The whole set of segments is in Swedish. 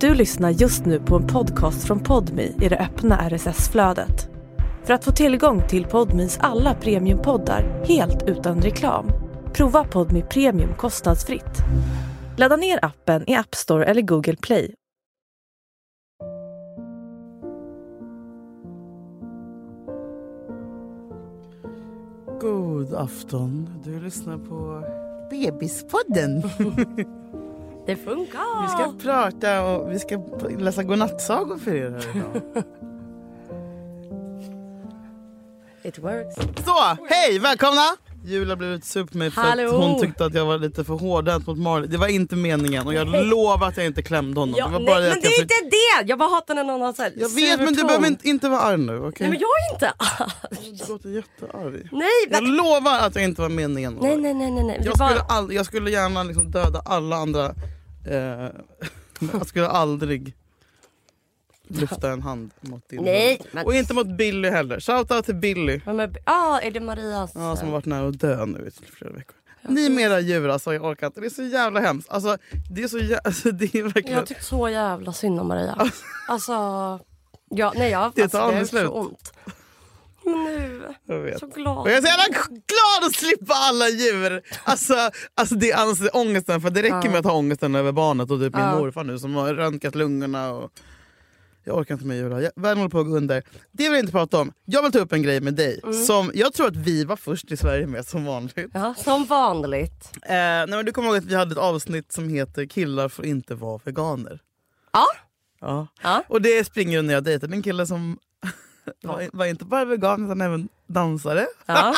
Du lyssnar just nu på en podcast från Podmi i det öppna RSS-flödet. För att få tillgång till Podmis alla premiumpoddar helt utan reklam, prova Podmi Premium kostnadsfritt. Ladda ner appen i App Store eller Google Play. God afton. Du lyssnar på Bebispodden. Det funkar! Vi ska prata och vi ska läsa godnattsagor för er här idag. It works. Så, hej, välkomna! Julia blev sur på mig för Hallå. att hon tyckte att jag var lite för hårdhänt mot Marley. Det var inte meningen och jag lovar att jag inte klämde honom. Ja, det var nej, bara men att det jag är för- inte det! Jag bara hatar när någon har så här Jag vet sur men du ton. behöver inte, inte vara arg nu. okej? Nej men jag är inte arg. Du låter jättearg. Nej Jag men... lovar att jag inte var meningen. att Nej vara arg. nej nej nej. nej. Det Jag var- skulle, all, jag skulle gärna liksom döda alla andra. Eh, men jag skulle aldrig lyfta en hand mot din. Nej, men- Och inte mot Billy heller. Shoutout till Billy. Ja, men- ah, är det Marias? Ja, som har varit nära att dö nu i flera veckor. Ni med era djur alltså, jag orkar inte. Det är så jävla hemskt. Alltså, det är så jä- alltså, det är verkligen... Jag tycker så jävla synd om Maria. Alltså... Ja, nej, jag, Det alltså, tar det aldrig har slut. så ont. Men nu... Jag vet. Så glad. Och jag är så jävla glad att slippa alla djur! Alltså, alltså det är alltså ångesten, för det räcker med att ha ångesten över barnet och typ min morfar nu som har röntgat lungorna. Och... Jag orkar inte med djur. Jag- Världen håller på att gå under. Det vill jag inte prata om. Jag vill ta upp en grej med dig Mm. som jag tror att vi var först i Sverige med som vanligt. Ja, som vanligt. Eh, nej, men du kommer ihåg att vi hade ett avsnitt som heter Killar får inte vara veganer. Ja. Ja. Ja. Och det springer under när jag dejtade min kille som var, var inte bara vegan utan även dansare. Ja.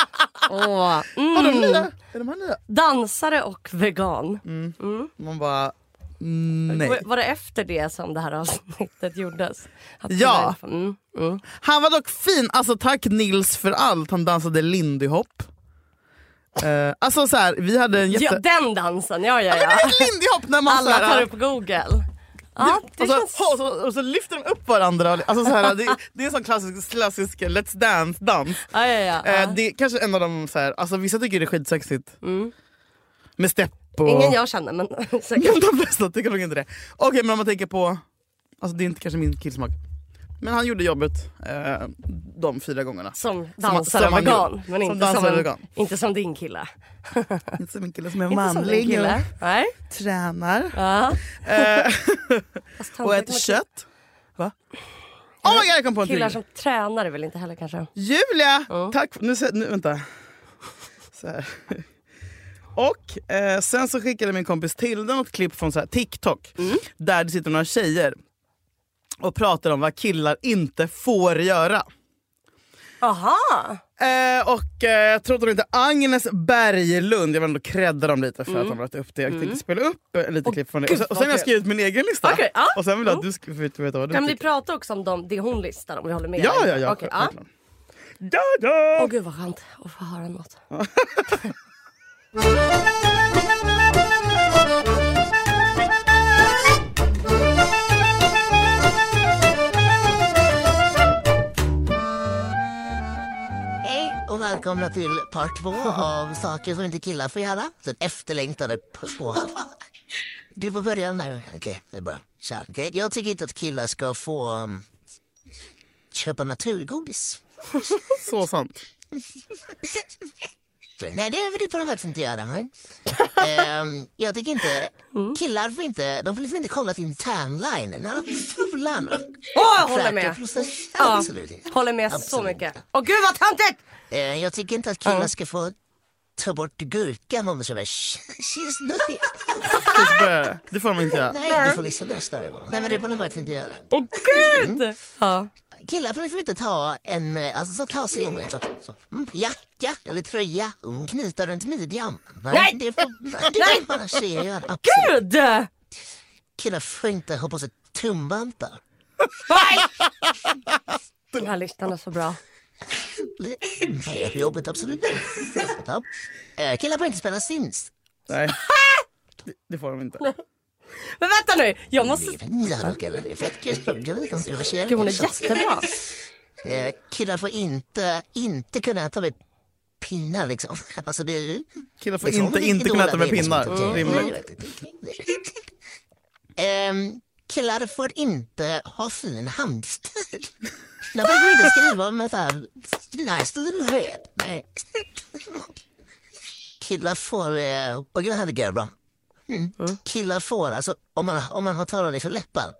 Åh. Var de Mm. nya? Är de här nya? Dansare och vegan. Man bara, nej. Var det efter det som det här avsnittet gjordes? Att Ja. Mm, mm. Han var dock fin. Alltså tack Nils för allt. Han dansade lindy hop. Eh, alltså så här, vi hade en jätte... ja. Den dansen, ja ja ja. Lindy hop när man Alla så här, tar upp Google. Ja, det och, så, känns... och, så, och så lyfter de upp varandra. Alltså så här, det, det är en sån klassisk, klassisk Let's Dance-dans. Ja, ja, ja. Eh, det är kanske en av de så här, alltså vissa tycker det är skitsexigt. Med stepp och... Mm. Ingen jag känner men säkert. Men de flesta tycker nog inte det. Okej men om man tänker på, alltså det är inte kanske min killsmak. Men han gjorde jobbet eh, de fyra gångerna. Som som dansare man vegan. gör. Men Som inte som, dansare en, vegan. inte som din kille. Inte som min kille som är Inte som din manlig kille. Nej. och tränar. Ja. Eh, Fast och tandläkare- äter kött. Va? Oh my god jag kom på en Killar till. som tränar är väl inte heller kanske. Julia! Ja. Tack för- nu, se- nu Vänta. Så här. Och eh, sen så skickade min kompis Tilda något klipp från så här, TikTok Mm. där det sitter några tjejer och pratar om vad killar inte får göra. Aha! Eh, och eh, jag tror att hon heter Agnes Berglund. Jag vill ändå credda dem lite för Mm. att de har lagt upp det. Jag tänkte spela upp eh, lite klipp från det. Och sen, och sen har jag skrivit min egen lista. Okej, ja. Och sen vill jag att du ska få veta vad du Kan vi tycker. prata också om dem, det hon listar om vi håller med? Ja, dig? ja, ja. Okej, ja. självklart. ja, ja. Åh gud vad skönt att få höra något. Hej och välkomna till part två av saker som inte killar får göra. Den efterlängtade part två. Du får börja nu. Okej, det är bra. Kör. Okej, Jag tycker inte att killar ska få um, köpa naturgodis. Så sant. Nej, det vill du på något sätt inte göra. Men. Ehm, jag tycker inte... Killar får inte... De får liksom inte kolla sin tanline. När de är fula. Åh, jag håller med. Flätteprocess- Ja, Absolut inte. håller med så Absolut. mycket. Åh gud vad töntigt! Eh, jag tycker inte att killar ska få ta bort gurkan om de köper cheesenötter. Det får- Det får de inte göra. Nej, du får liksom rösta över dem. Nej, men det får de faktiskt inte göra. Åh gud! Mm. Ja. Killar får liksom inte ta en, eh, alltså så ta sig en så, så, mm, jacka eller tröja och knyta runt midjan. Nej! Det får, det Nej! får bara tjejer göra. Absolut. Gud! Killar får inte ha på sig tumvantar. Nej! Den här listan är så bra. Nej, på jobbet absolut. Ja. Eh, Killar får inte spela Sims. Nej. Det- Det får de inte. Men vänta nu, jag måste... Mm. Ja, då killar, det är fett kul. Jag vet inte hur jag känner. Gud, hon är jättebra. Eh, killar får inte, inte kunna ta med pinnar liksom. Alltså det är Killar får liksom, inte, inte kunna äta med pinnar. Mm. Rimligt. Ehm, killar får inte ha fin handstil. De får inte skriva med så här, nästil höjd. Nej. Killar får, eh, och det här är bra. Mm. Killar får, alltså om man, om man har tallrik för läppar,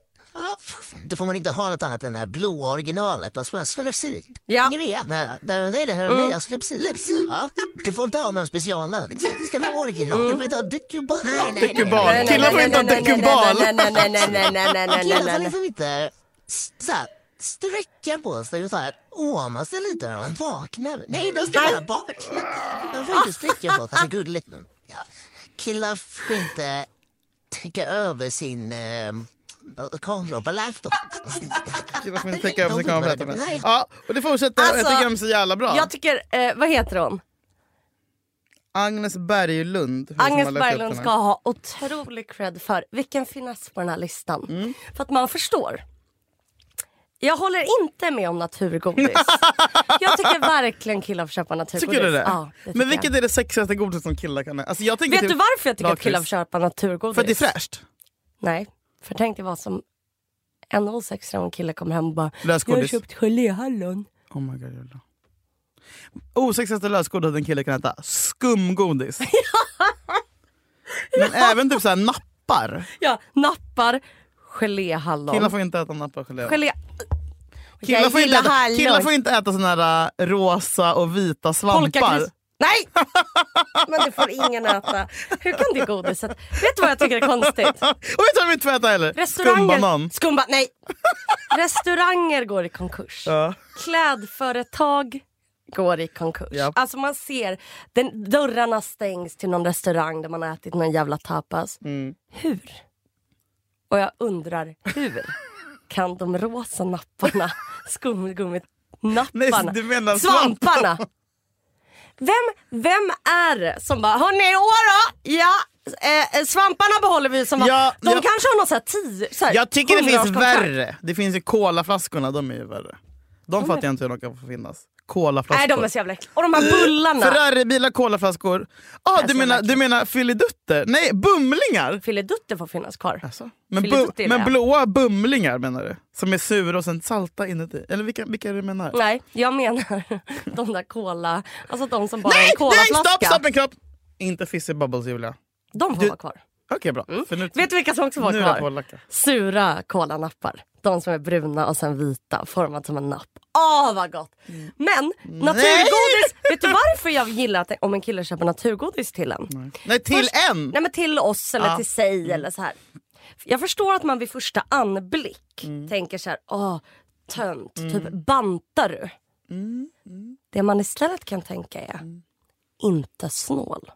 då får man inte ha något annat än det här blå originalet. Man ska ha slipsil. Ja. Ni vet, det det är det här nya slipsil. Slipsil. Ja. Du får inte ha någon specialare. liksom. Det ska vara original. Du får inte ha dekubal. Nej, nej, nej. Dekubal. Nej, nej, Killar får nej, inte ha nej, nej, dekubal. nej, nej, nej, nej, nej, nej, nej, nej, nej, Killar får nej, nej. liksom inte så här, sträcka på sig och så här åma sig lite när de vaknar. Nej, de ska bara vakna. De får inte sträcka på sig. Alltså, gulligt. men, Ja. Killar får inte tänka över sin eh, kamera på laptop. Killar får inte täcka över sig De får inte kameran. börja- Ja, och det fortsätter. och Jag Alltså, tycker de är så jävla bra. Jag tycker, eh, vad heter hon? Agnes Berglund. hon som har Agnes lagt upp Berglund den här. ska ha otrolig cred för vilken finess på den här listan. Mm. För att man förstår. Jag håller inte med om naturgodis. jag tycker verkligen killar får köpa naturgodis. Tycker du det? Ja, det tycker men vilket är det sexigaste godiset som killar kan äta? Alltså jag jag. tänker Vet typ du varför jag tycker att lakrits. killar får köpa naturgodis? För att det är fräscht. Nej, för tänk dig vad som en 06 när en kille kommer hem och bara Jag har Lösgodis. köpt geléhallon. Oh my god. jävlar. Osexigaste lösgodis en kille kan äta. Skumgodis. men även typ så här nappar. Ja, nappar geléhallon. Killar får inte äta nappar och gelé. Gelé... Killar Jag får, inte gillar äta, hallon. killar får inte äta såna här äh, rosa och vita svampar. Polkagris. Nej! Men det får ingen äta. Hur kan det godiset... Vet du vad jag tycker är konstigt? Och vet du vad de inte får äta heller? Skumbanan. Skumba, nej. Restauranger går i konkurs. Ja. Klädföretag går i konkurs. Ja. Alltså man ser, den, dörrarna stängs till någon restaurang där man har ätit någon jävla tapas. Mm. Hur? Och jag undrar hur kan de rosa napparna, Nej, skumgumminapparna, du menar svamp. svamparna. Vem, vem är det som bara, hörni, årå, ja, eh, eh, svamparna behåller vi som var. Ja, De ja. kanske har någon sån här tio, så här, Jag tycker det finns hundraårskontrakt. värre. Det finns ju colaflaskorna, de är ju värre. De fattar jag inte hur de kan få finnas. Colaflaskor. Nej de är så jävla äckliga. Och de här bullarna. Ferraribilar, colaflaskor. Ah, är du, så menar, jävla du menar filidutter? Nej, bumlingar! Filidutter får finnas kvar. Alltså, men, bu Filidutter gillar men jag. blåa bumlingar menar du? Som är sura och sen salta inuti. Eller vilka, vilka är det du menar? Nej, jag menar de där cola, alltså de som bara är Nej, en nej, stopp, colaflaska. stopp en kropp! Inte fizzy bubbles Julia. De får Du- vara kvar. Okej bra. För nu, Mm. Vet du vilka som också får nu vara är det på kvar? att lacka. Sura colanappar. De som är bruna och sen vita, format som en napp. Åh vad gott! Mm. Men naturgodis, vet du varför jag gillar att om en kille köper naturgodis till en? Nej, till Först- en! Nej men till oss eller Ja. Mm. till sig eller så här. Jag förstår att man vid första anblick Mm. tänker så här, åh tönt, typ bantar du? Mm, Det man istället kan tänka är, inte snål.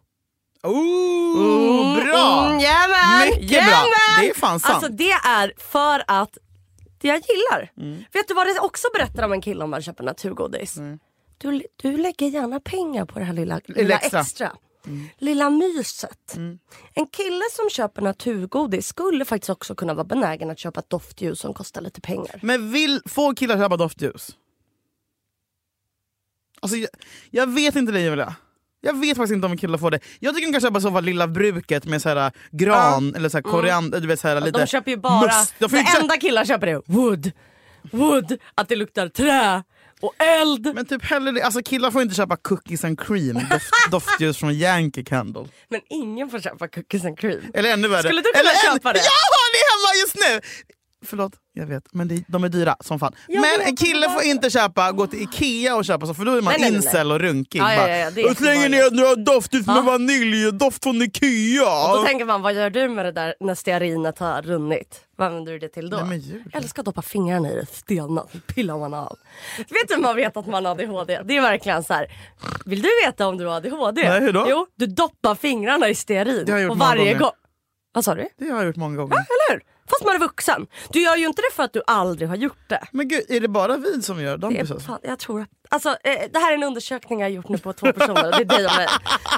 Oh, bra! Mm, jajamän, Mycket bra! jajamän. Det är fan sant. Alltså det är för att det jag gillar. Mm. Vet du vad det också berättar om en kille om man köper naturgodis? Du, du lägger gärna pengar på det här lilla, lilla extra. Mm. extra. Lilla myset. En kille som köper naturgodis skulle faktiskt också kunna vara benägen att köpa ett doftljus som kostar lite pengar. Men vill, får killar köpa doftljus? Alltså, jag, jag vet inte det Julia. Jag vet faktiskt inte om killar får det. Jag tycker de kan köpa så vad Lilla Bruket med så här, äh, gran eller så här, koriander. Du vet, så här, lite Mm. De köper ju bara, must. De får det ju inte köpa- enda killar köper är wood. Wood, att det luktar trä och eld. Men typ hellre det. Alltså, killar får inte köpa cookies and cream, doft, doftljus från Yankee Candle. Men ingen får köpa cookies and cream. Eller ännu värre. Skulle du kunna Eller än- köpa det? Jag har det hemma just nu! Förlåt, jag vet. Men det, de är dyra som fan. Jag men vet, en kille men får inte köpa, gå till Ikea och köpa så för då är man Nej, nej, nej, nej. incel och runkig. Ja, ja, Bara, ja, det är jag slänger ner jättevanligt. några doftljus med Ja. vaniljdoft från Ikea. Då tänker man, vad gör du med det där när stearinet har runnit? Vad använder du det till då? Nej, men Julia. Eller ska doppa fingrarna i det, stelna, så pillar man av. Vet du hur man vet att man har ADHD? Det är verkligen så här. vill du veta om du har ADHD? Nej, hur då? Jo, du doppar fingrarna i stearin. Det har jag gjort och många varje gånger. gång. Vad sa du? Det har jag gjort många gånger. Eller hur? Fast man är vuxen. Du gör ju inte det för att du aldrig har gjort det. Men gud, är det bara vi som gör de Det, är, precis? fan, jag tror att, alltså, eh, det här är en undersökning jag har gjort nu på två personer. Det är dig och mig.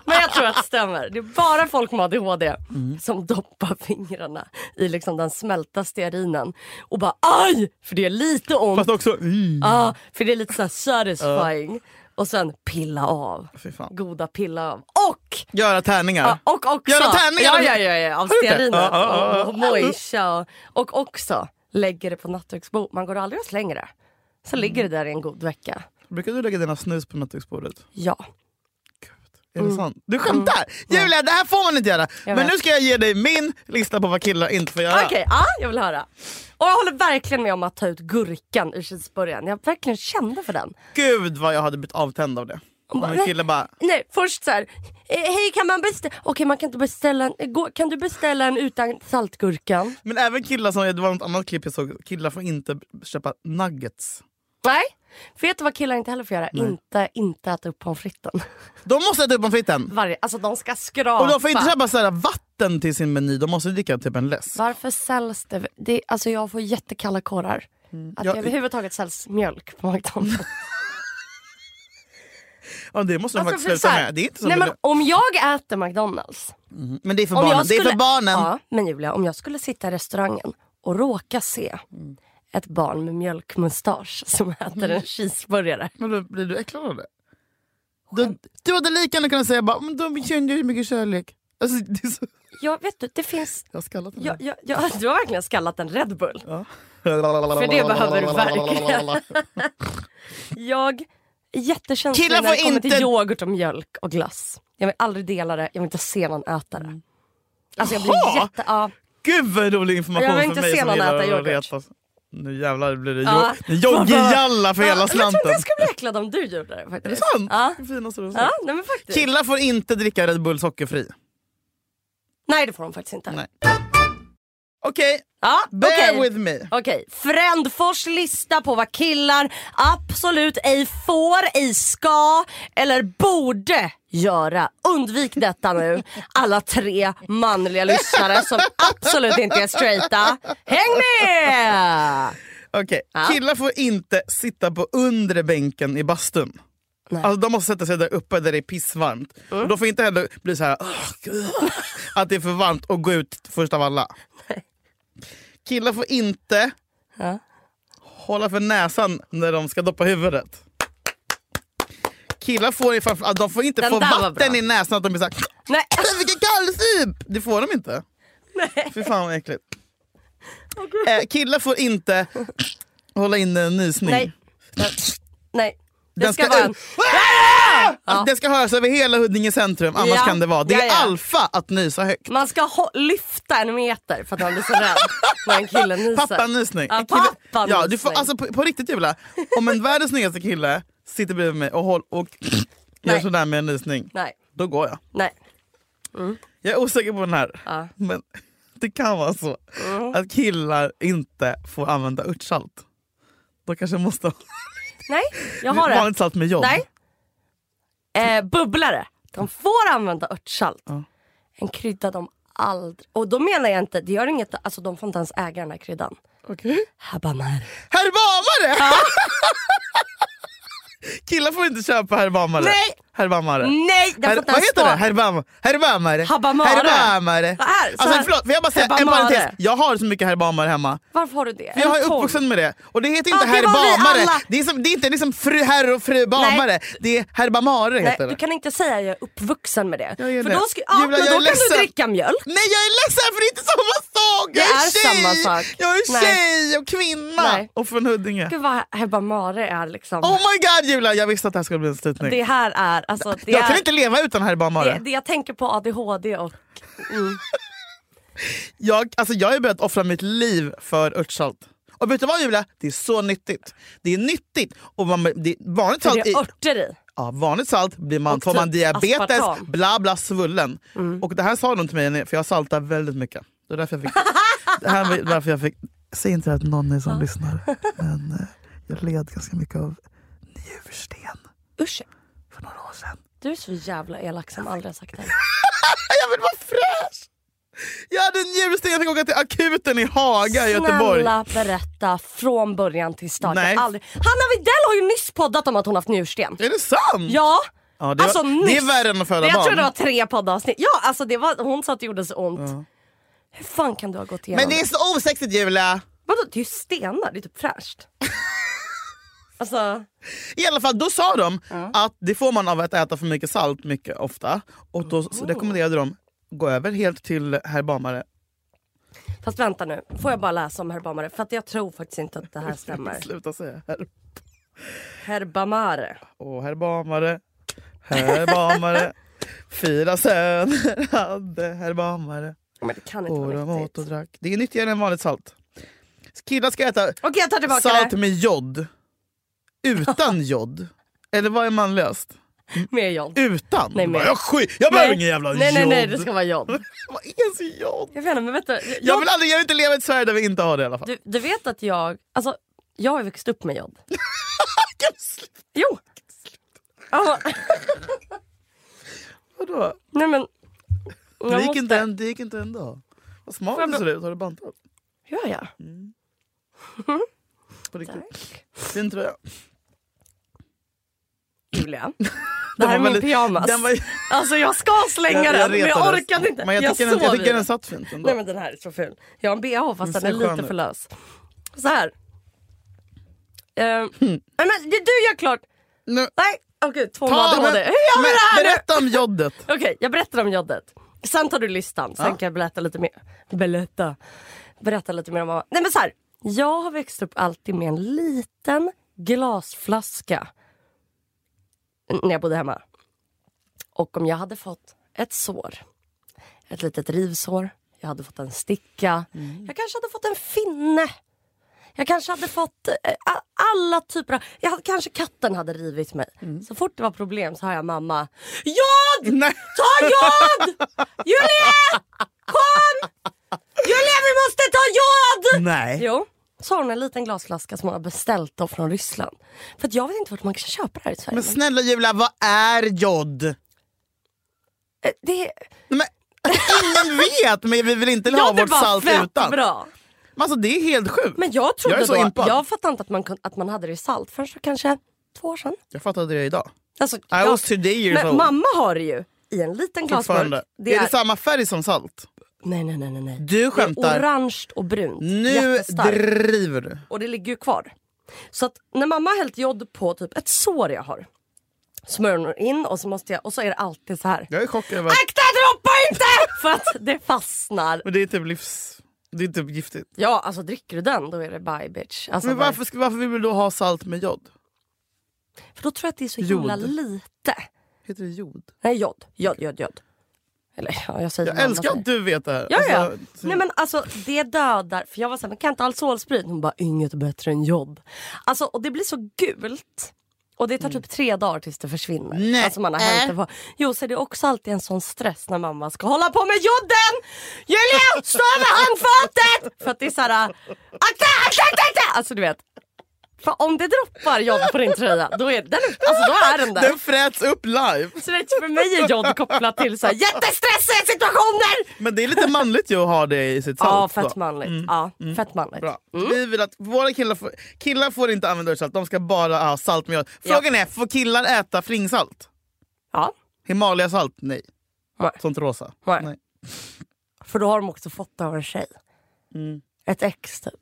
Men jag tror att det stämmer. Det är bara folk med ADHD Mm. som doppar fingrarna i liksom den smälta stearinen och bara aj! För det är lite ont. Fast också... Mm. Ja, för det är lite så här satisfying. Och sen pilla av. Fy fan. Goda pilla av. Och! Göra tärningar. Ja, och också. Göra tärningar Ja, av- ja, ja, ja. Av du gjort det? stearinet Ja, ja, ja. och mojsa. Och, och också lägger det på nattduksbordet. Man går aldrig och slänger det. Så ligger det där i en god vecka. Brukar du lägga dina snus på nattduksbordet? Ja. Är det sant? Du skämtar! Julia, det här får man inte göra. Mm. Jag Men vet. nu ska jag ge dig min lista på vad killar inte får göra. Okej, ja, jag vill höra. Och jag håller verkligen med om att ta ut gurkan ur cheeseburgaren. Jag verkligen kände för den. Gud vad jag hade blivit avtänd av det. Om en nej. kille bara... Nej, först så här. eh, Hej, kan man beställa? Okej, man kan inte beställa en. eh, gå- Kan du beställa en utan saltgurkan? Men även killar som... Det var något annat klipp jag såg. Killar får inte köpa nuggets. Nej. För vet du vad killar inte heller får göra? Inte, inte äta upp pommes fritesen. De måste äta upp pommes fritesen. Varje- Alltså de ska skrapa. Och de får inte köpa så här vatten till sin meny. De måste dricka typ en läsk. Varför säljs det? det? Alltså jag får jättekalla kårar. Att Jag- det överhuvudtaget säljs mjölk på McDonalds. Ja, det måste de Alltså, faktiskt för så sluta här- med. Det är inte så Nej, men billigt. om jag äter McDonalds. Men det är för Om barnen. jag Det är för barnen. Ja, men Julia, om jag skulle sitta i restaurangen och råka se ett barn med mjölkmustasch som äter en cheeseburgare. Men då blir du äcklad av det? Du, du hade lika gärna kunnat säga bara, men de kände ju mycket kärlek. Alltså, det är så, Ja, vet du, det finns... jag har skallat den. Ja, ja, ja, du har verkligen skallat en Red Bull. För det behöver du verkligen. Jag är jättekänslig Killar när det får kommer inte- till yoghurt och mjölk och glass. Jag vill aldrig dela det, jag vill inte se någon äta det. Alltså jag blir Jaha! jätte... Ja. Gud vad rolig information Jag vill för inte mig se som någon gillar äta att yoghurt. retas. Nu jävlar blir det Ja. jo- joggijalla för Ja, hela men Jag trodde slanten. jag skulle bli äcklad om du gjorde det faktiskt. Är det sant? Ja. Det finaste du har sagt. Ja, nej men faktiskt. Killar får inte dricka Red Bull sockerfri. Nej det får de faktiskt inte. Nej. Okej, Ja, bear okej. with me. Okej, Frändfors lista på vad killar absolut ej får, ej ska eller borde göra. Undvik detta nu, alla tre manliga lyssnare som absolut inte är straighta. Häng med! Okej, Ja. Killar får inte sitta på undre bänken i bastun. Nej. Mm. Alltså, de måste sätta sig där uppe där det är pissvarmt. Och de får inte heller bli så här "Åh, gud", att det är för varmt och gå ut först av alla. Killar får inte Ja. hålla för näsan när de ska doppa huvudet. Killar får, ifall, att de får inte Den få där var vatten bra. i näsan att de blir såhär Nej, alltså, “vilken kallsup!” Det får de inte. nej. Fy fan vad äckligt. Eh, killar får inte hålla in en nysning. nej. Nej. Den Det ska, ska vara ut. en... Alltså, Den ska höras över hela Huddinge centrum, annars Ja. kan det vara. Det Ja, är ja. alfa att nysa högt. Man ska ho- lyfta en meter för att man blir så rädd när en kille nyser. Pappanysning. Ja, En kille- pappanysning. Ja, du får, alltså, på, på riktigt Julia, om en världens snyggaste kille sitter bredvid mig och, håll, och gör Nej. sådär med en nysning, Nej, då går jag. nej. Jag är osäker på den här. Ja. Mm. Men det kan vara så att killar inte får använda örtsalt. De kanske måste ha Nej, jag har det. vanligt salt med jobb. Nej. Eh, bubblare. De får använda örtsalt. Mm. Ja. En krydda de aldrig... Och då menar jag inte, det gör inget, alltså de får inte ens äga den här kryddan. Okej. Habanero. Herbamare! Killar får inte köpa herbamare. Nej. Herbamare. Nej, den Her, får inte vad ens heter stå. det? Herbam, herbamare. Habamare. Herbamare. Så här, så alltså, här. förlåt, får jag bara säga Herbamare. en parentes? Jag har så mycket herbamare hemma. Varför har du det? För jag En är tolv. uppvuxen med det. Och det heter inte Ja, det var vi herbamare. alla. Det är, som, det är inte liksom fru herr och fru bamare. Det är herbamare Nej, heter du det. kan inte säga jag är uppvuxen med det. Jag är För det. då, ska, ja, Julia, men jag då är kan ledsen. du dricka mjölk. Nej jag är ledsen för det är inte samma sak! Jag Det är, är tjej! samma sak. Jag är Nej. tjej och kvinna! Nej. Och från Huddinge. Gud vad herbamare är liksom. Oh my god Julia, jag visste att det här skulle bli en slutning. det här är... Alltså, det jag är kan inte leva utan herbamare. det, det jag tänker på ADHD och... Mm. Jag, alltså jag har ju börjat offra mitt liv för örtsalt. Och vet du vad Julia? Det är så nyttigt. Det är nyttigt. Och man, det är vanligt, För salt det i, är örter i. ja, vanligt salt blir man, Och får man typ diabetes, aspartam. Mm. bla bla svullen. Och det här sa de till mig, för jag saltar väldigt mycket. Det är därför jag fick... det här var därför jag fick säg inte att någon är som lyssnar, men eh, jag led ganska mycket av njursten Usch, för några år sedan. du är så jävla elak som aldrig har sagt det. Jag vill vara fräsch! Jag hade njursten, jag fick åka till akuten i Haga i Göteborg. Snälla berätta från början till start. Nej. Mm. Nej. Aldrig... Hanna Widell har ju nyss poddat om att hon haft njursten. Är det sant? Ja. Ja, det, Alltså, var, det är nyss. värre än att föda Jag barn. tror det var tre poddavsnitt. Ja, alltså det var, hon sa att det gjorde så ont. Hur fan kan du ha gått igenom Men det är så osexigt Julia! Vadå, det är ju stenar, det är typ fräscht. Alltså, I alla fall, då sa de att det får man av att äta för mycket salt mycket ofta. Och då så rekommenderade de gå över helt till herrbamare. fast vänta nu, får jag bara läsa om herbamare? För att jag tror faktiskt inte att det här stämmer. Sluta säga herr. Herbamare. Och herrbamare, herbamare. Fyra söner hade herbamare. Men det kan inte Och vara de åt och riktigt. drack. Det är nyttigare än vanligt salt. Killar ska äta Okej, jag tar tillbaka salt det. med jod. Utan jod. Eller vad är manlöst? Mer jod. Utan? Nej, Du men- bara, jag, skit, jag behöver Nej. ingen jävla Nej, nej, jod. nej, det ska vara jod. Vad är ens jod? Jag vet inte, men vänta. Jag Jag, vill aldrig, jag vill inte leva i ett Sverige där vi inte har det i alla fall. du, du vet att jag, alltså jag har ju växt upp med jod. Jo! Ja, Vadå? nej men. Det Jag gick, inte måste, en, det gick inte en dag. Vad smal Får du jag ser ut. Har du bantat? gör jag? På riktigt. Fin tröja. Julia. Det Den här är var min väldigt- pyjamas. Den var, Alltså jag ska slänga jag- jag den men jag retades. orkade inte. Men jag, tycker den, såg jag tycker det. den Mm, satt fint ändå. Nej men den här är så ful. Jag har en bh fast Den den, ser är skön lite ut. för lös. Så här. Ehm, Hmm. Nej men det du gör klart. Nu- Nej okej två Ta- månader. Hur men- gör vi men- det här nu? Berätta om jodet. Okej, jag berättar om jodet. Sen tar du listan, sen Ja. kan jag berätta lite mer. Berätta. Berätta lite mer om vad... Nej men så här. Jag har växt upp alltid med en liten glasflaska. N- När jag bodde hemma. Och om jag hade fått ett sår. Ett litet rivsår. Jag hade fått en sticka. Jag kanske hade fått en finne. Jag kanske hade fått eh, a- alla typer av... Jag hade, kanske katten hade rivit mig. Så fort det var problem så hör jag mamma. Jod! Nej. Ta jod! Julia! Kom! Julia vi måste ta jod! Nej. Jo, så har hon en liten glasflaska som hon har beställt då från Ryssland. För att jag vet inte vart man kan köpa det här i Sverige. Men snälla Julia, vad är jod? Nej, Eh, det är Men, ingen vet, men vi vill inte ha jag vårt var salt fett utan. bra. Men alltså, det är helt sjukt. Men jag trodde Jag är så då, impad. jag fattade inte att man, kun- att man hade det i salt förrän så kanske två år sedan. Jag fattade det idag. Alltså, I jag- was today years men old. mamma har det ju i en liten Fortfarande. glasburk. är... det samma färg som salt? Nej, nej, nej. nej, nej. Du Det är skämtar. orange och brunt. Nu Jättestarkt. driver du. Och det ligger ju kvar. Så att när mamma har hällt jod på typ ett sår jag har smörjer hon in och så, måste jag, och så är det alltid så här. Jag är chockad över att Akta droppa inte! För att det fastnar. men det är typ livs... Det är typ giftigt. Ja alltså dricker du den då är det bye bitch. Alltså, Men varför, ska- varför vill du då ha salt med jod? För då tror jag att det är så himla Jod. lite. Heter det jod? Nej jod, jod, jod, jod. Eller ja, jag säger Jag vad alla älskar säger. att du vet det här. Ja, ja. Alltså, Nej men alltså det dödar. För jag var såhär, men kan inte alkoholsprit? Hon bara, inget bättre än jod. Alltså och det blir så gult. Och det tar typ tre dagar tills det försvinner. Mm. Nej. Äh. Alltså man har hällt det på. Jo så är det också alltid en sån stress när mamma ska hålla på med jodden! Julia, stå över handfatet! För att det är såhär, akta, akta, akta, akta! Alltså du vet. För om det droppar jod på din tröja, då är den, alltså, då är den där. Den fräts upp live. Så det, för mig är jod kopplat till så här, jättestressiga situationer! Men det är lite manligt ju att ha det i sitt salt. då. Ja, Mm. fett Mm, manligt. Ja, fett manligt. Bra. Vi vill att våra killar, får, killar får inte använda salt, de ska bara ha salt med jod. Frågan är, får killar äta flingsalt? Ja, Himalayasalt? Nej. Nej. Sånt rosa? Nej. för då har de också fått det av en tjej. Ett ex typ.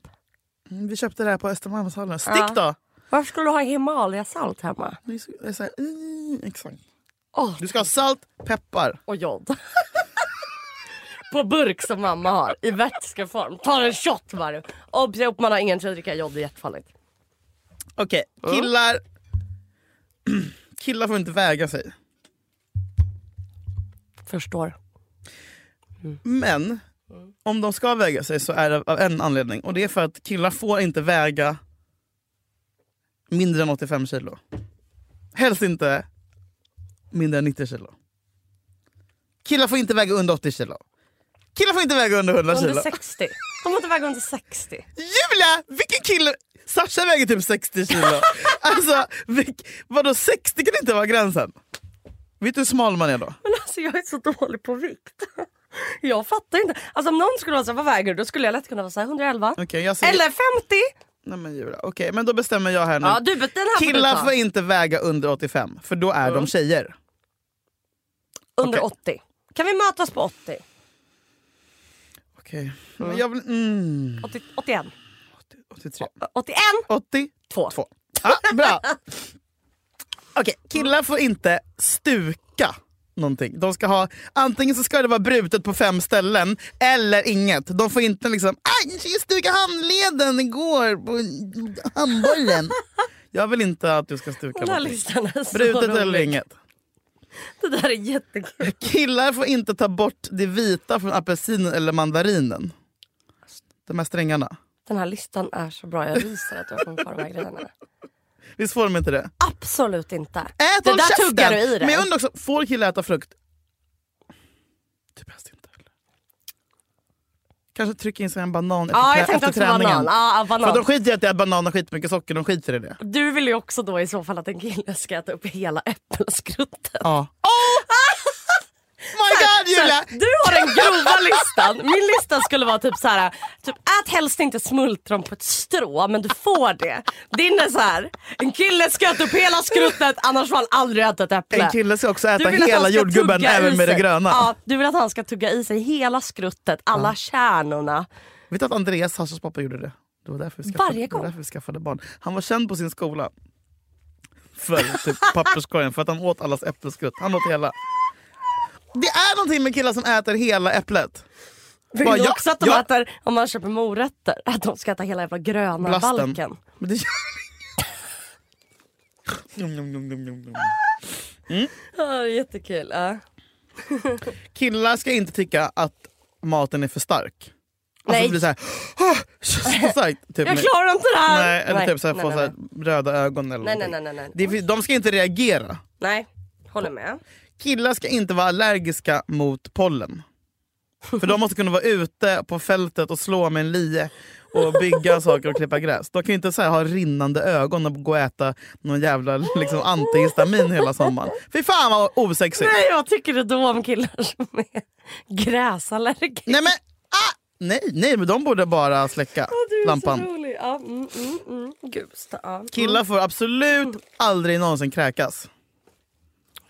Mm, Vi köpte det här på Östermalmshallen. Stick Ja. då! Varför skulle du ha Himalayasalt hemma? Det är så- det är så här, mm, Exakt. Åh, Du ska ha salt, peppar. och jod. På burk som mamma har i vätskeform. Tar en shot varje. Obs, jag- man har ingen tid att dricka jod, det är jättefarligt. Okej, killar... killar får inte väga sig. Förstår. Men om de ska väga sig så är det av en anledning. Och det är för att killar får inte väga mindre än 85 kilo. Helst inte mindre än 90 kilo. Killar får inte väga under 80 kilo. Killar får inte väga under 100 Under kilo. 60. De får inte väga under 60. Julia! Vilken kille! Sasha väger typ 60 kilo. alltså, vilk, vadå 60 kan inte vara gränsen? Vet du hur smal man är då? Men alltså jag är så dålig på vikt. Jag fattar inte. Alltså om någon skulle vara såhär, vad väger du? Då skulle jag lätt kunna vara såhär 111. Okej, jag säger... Eller 50! Nej men Julia, okej men då bestämmer jag här nu. Ja, du, den här får du Mm. Killar ta. Mm. får inte väga under 85 för då är de tjejer. Under 80. Kan vi mötas på 80? Okej. Mm. mm, Men jag vill... Mm. 80 81? 83. 81? 82. Två. Ja, bra. Okej, killar får inte stuka någonting. De ska ha, antingen så ska det vara brutet på fem ställen eller inget. De får inte liksom aj, jag stuka handleden igår på handbollen. Jag vill inte att du ska stuka Den här någonting. listan är så Brutet rolig. eller inget. Det där är jättekul. Killar får inte ta bort det vita från apelsinen eller mandarinen. De här strängarna. Den här listan är så bra. Jag ryser att jag kommer på de här grejerna. Visst får de inte det? Absolut inte. Ät det håll där käften! tuggar du i dig. Men jag undrar också, får killar äta frukt? Det är bäst inte heller. Kanske trycka in sig en banan efter, Ja, trä- jag efter tänkte också banan. träningen. Ja, För banan. de skiter i att jag äter banan och skitmycket socker, de skiter i det. Du vill ju också då i så fall att en kille ska äta upp hela äppelskruttet. Ja. Oh! My god Julia! Du har den grova listan. Min lista skulle vara typ så här, typ ät helst inte smultron på ett strå men du får det. Din är så här, en kille ska äta upp hela skruttet annars får han aldrig äta ett äpple. En kille ska också Du äta vill att han hela ska jordgubben tugga i även med det sig. gröna. Ja, du vill att han ska tugga i sig hela skruttet, alla kärnorna. Vet du att Andreas, Hassas pappa, gjorde det? Det var därför vi skaffade, Varje det var gång. därför vi skaffade barn. Han var känd på sin skola för typ papperskorgen, för att han åt allas äppelskrutt. Han åt hela. Det är någonting med killar som äter hela äpplet. Vill Bara, du ja, också att de ja. äter, om man köper morötter, att de ska äta hela jävla gröna Blasten. balken? Men det gör inget. Nom, nom, nom, nom, nom, nom. Ja, det är jättekul. Ja. Alltså, Killar ska inte tycka att maten är för stark. Alltså Nej. det blir såhär... "Åh, så starkt", typ Jag med- klarar inte det här! Nej, eller typ såhär, nej, få nej, såhär, röda ögon eller Nej, nej, någonting. nej, nej, nej. Det är för- De ska inte reagera. nej. nej, håller med. killar ska inte vara allergiska mot pollen. För de måste kunna vara ute på fältet och slå med en lie och bygga saker och klippa gräs. De kan ju inte så här, ha rinnande ögon och gå och äta någon jävla liksom, antihistamin hela sommaren. Fy fan vad osexigt. Nej, Nej, vad tycker du då om killar som är gräsallergiker? men ah! nej, nej men de borde bara släcka Du är så lampan. rolig. Ja, mm, mm, mm. Gud, sta- ja. Killar får absolut aldrig någonsin kräkas.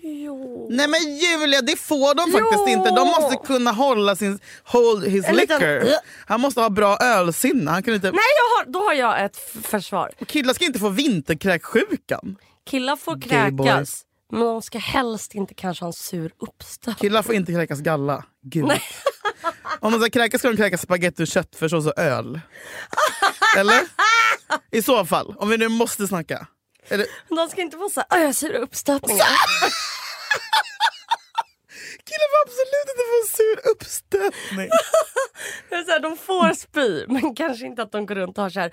Jo. Nej men Julia, det får de faktiskt inte. De måste kunna hålla sin hold his En liten- liquor. Han måste ha bra ölsinne. Han kan inte... Nej, jag har, då har jag ett f- försvar. Killar ska inte få vinterkräksjukan. Killar får Gay boys. kräkas, men de ska helst inte kanske ha en sur uppstöt. Killar får inte kräkas galla. Gud. Om de ska kräkas ska de kräkas spagetti och köttfärssås och öl. Eller? I så fall, om vi nu måste snacka. Eller, De ska inte vara så här, "Åh, jag har sura uppstötningar. killar får absolut inte få en sur uppstötning. Det är Så här, de får spy, men kanske inte att de går runt och har så här,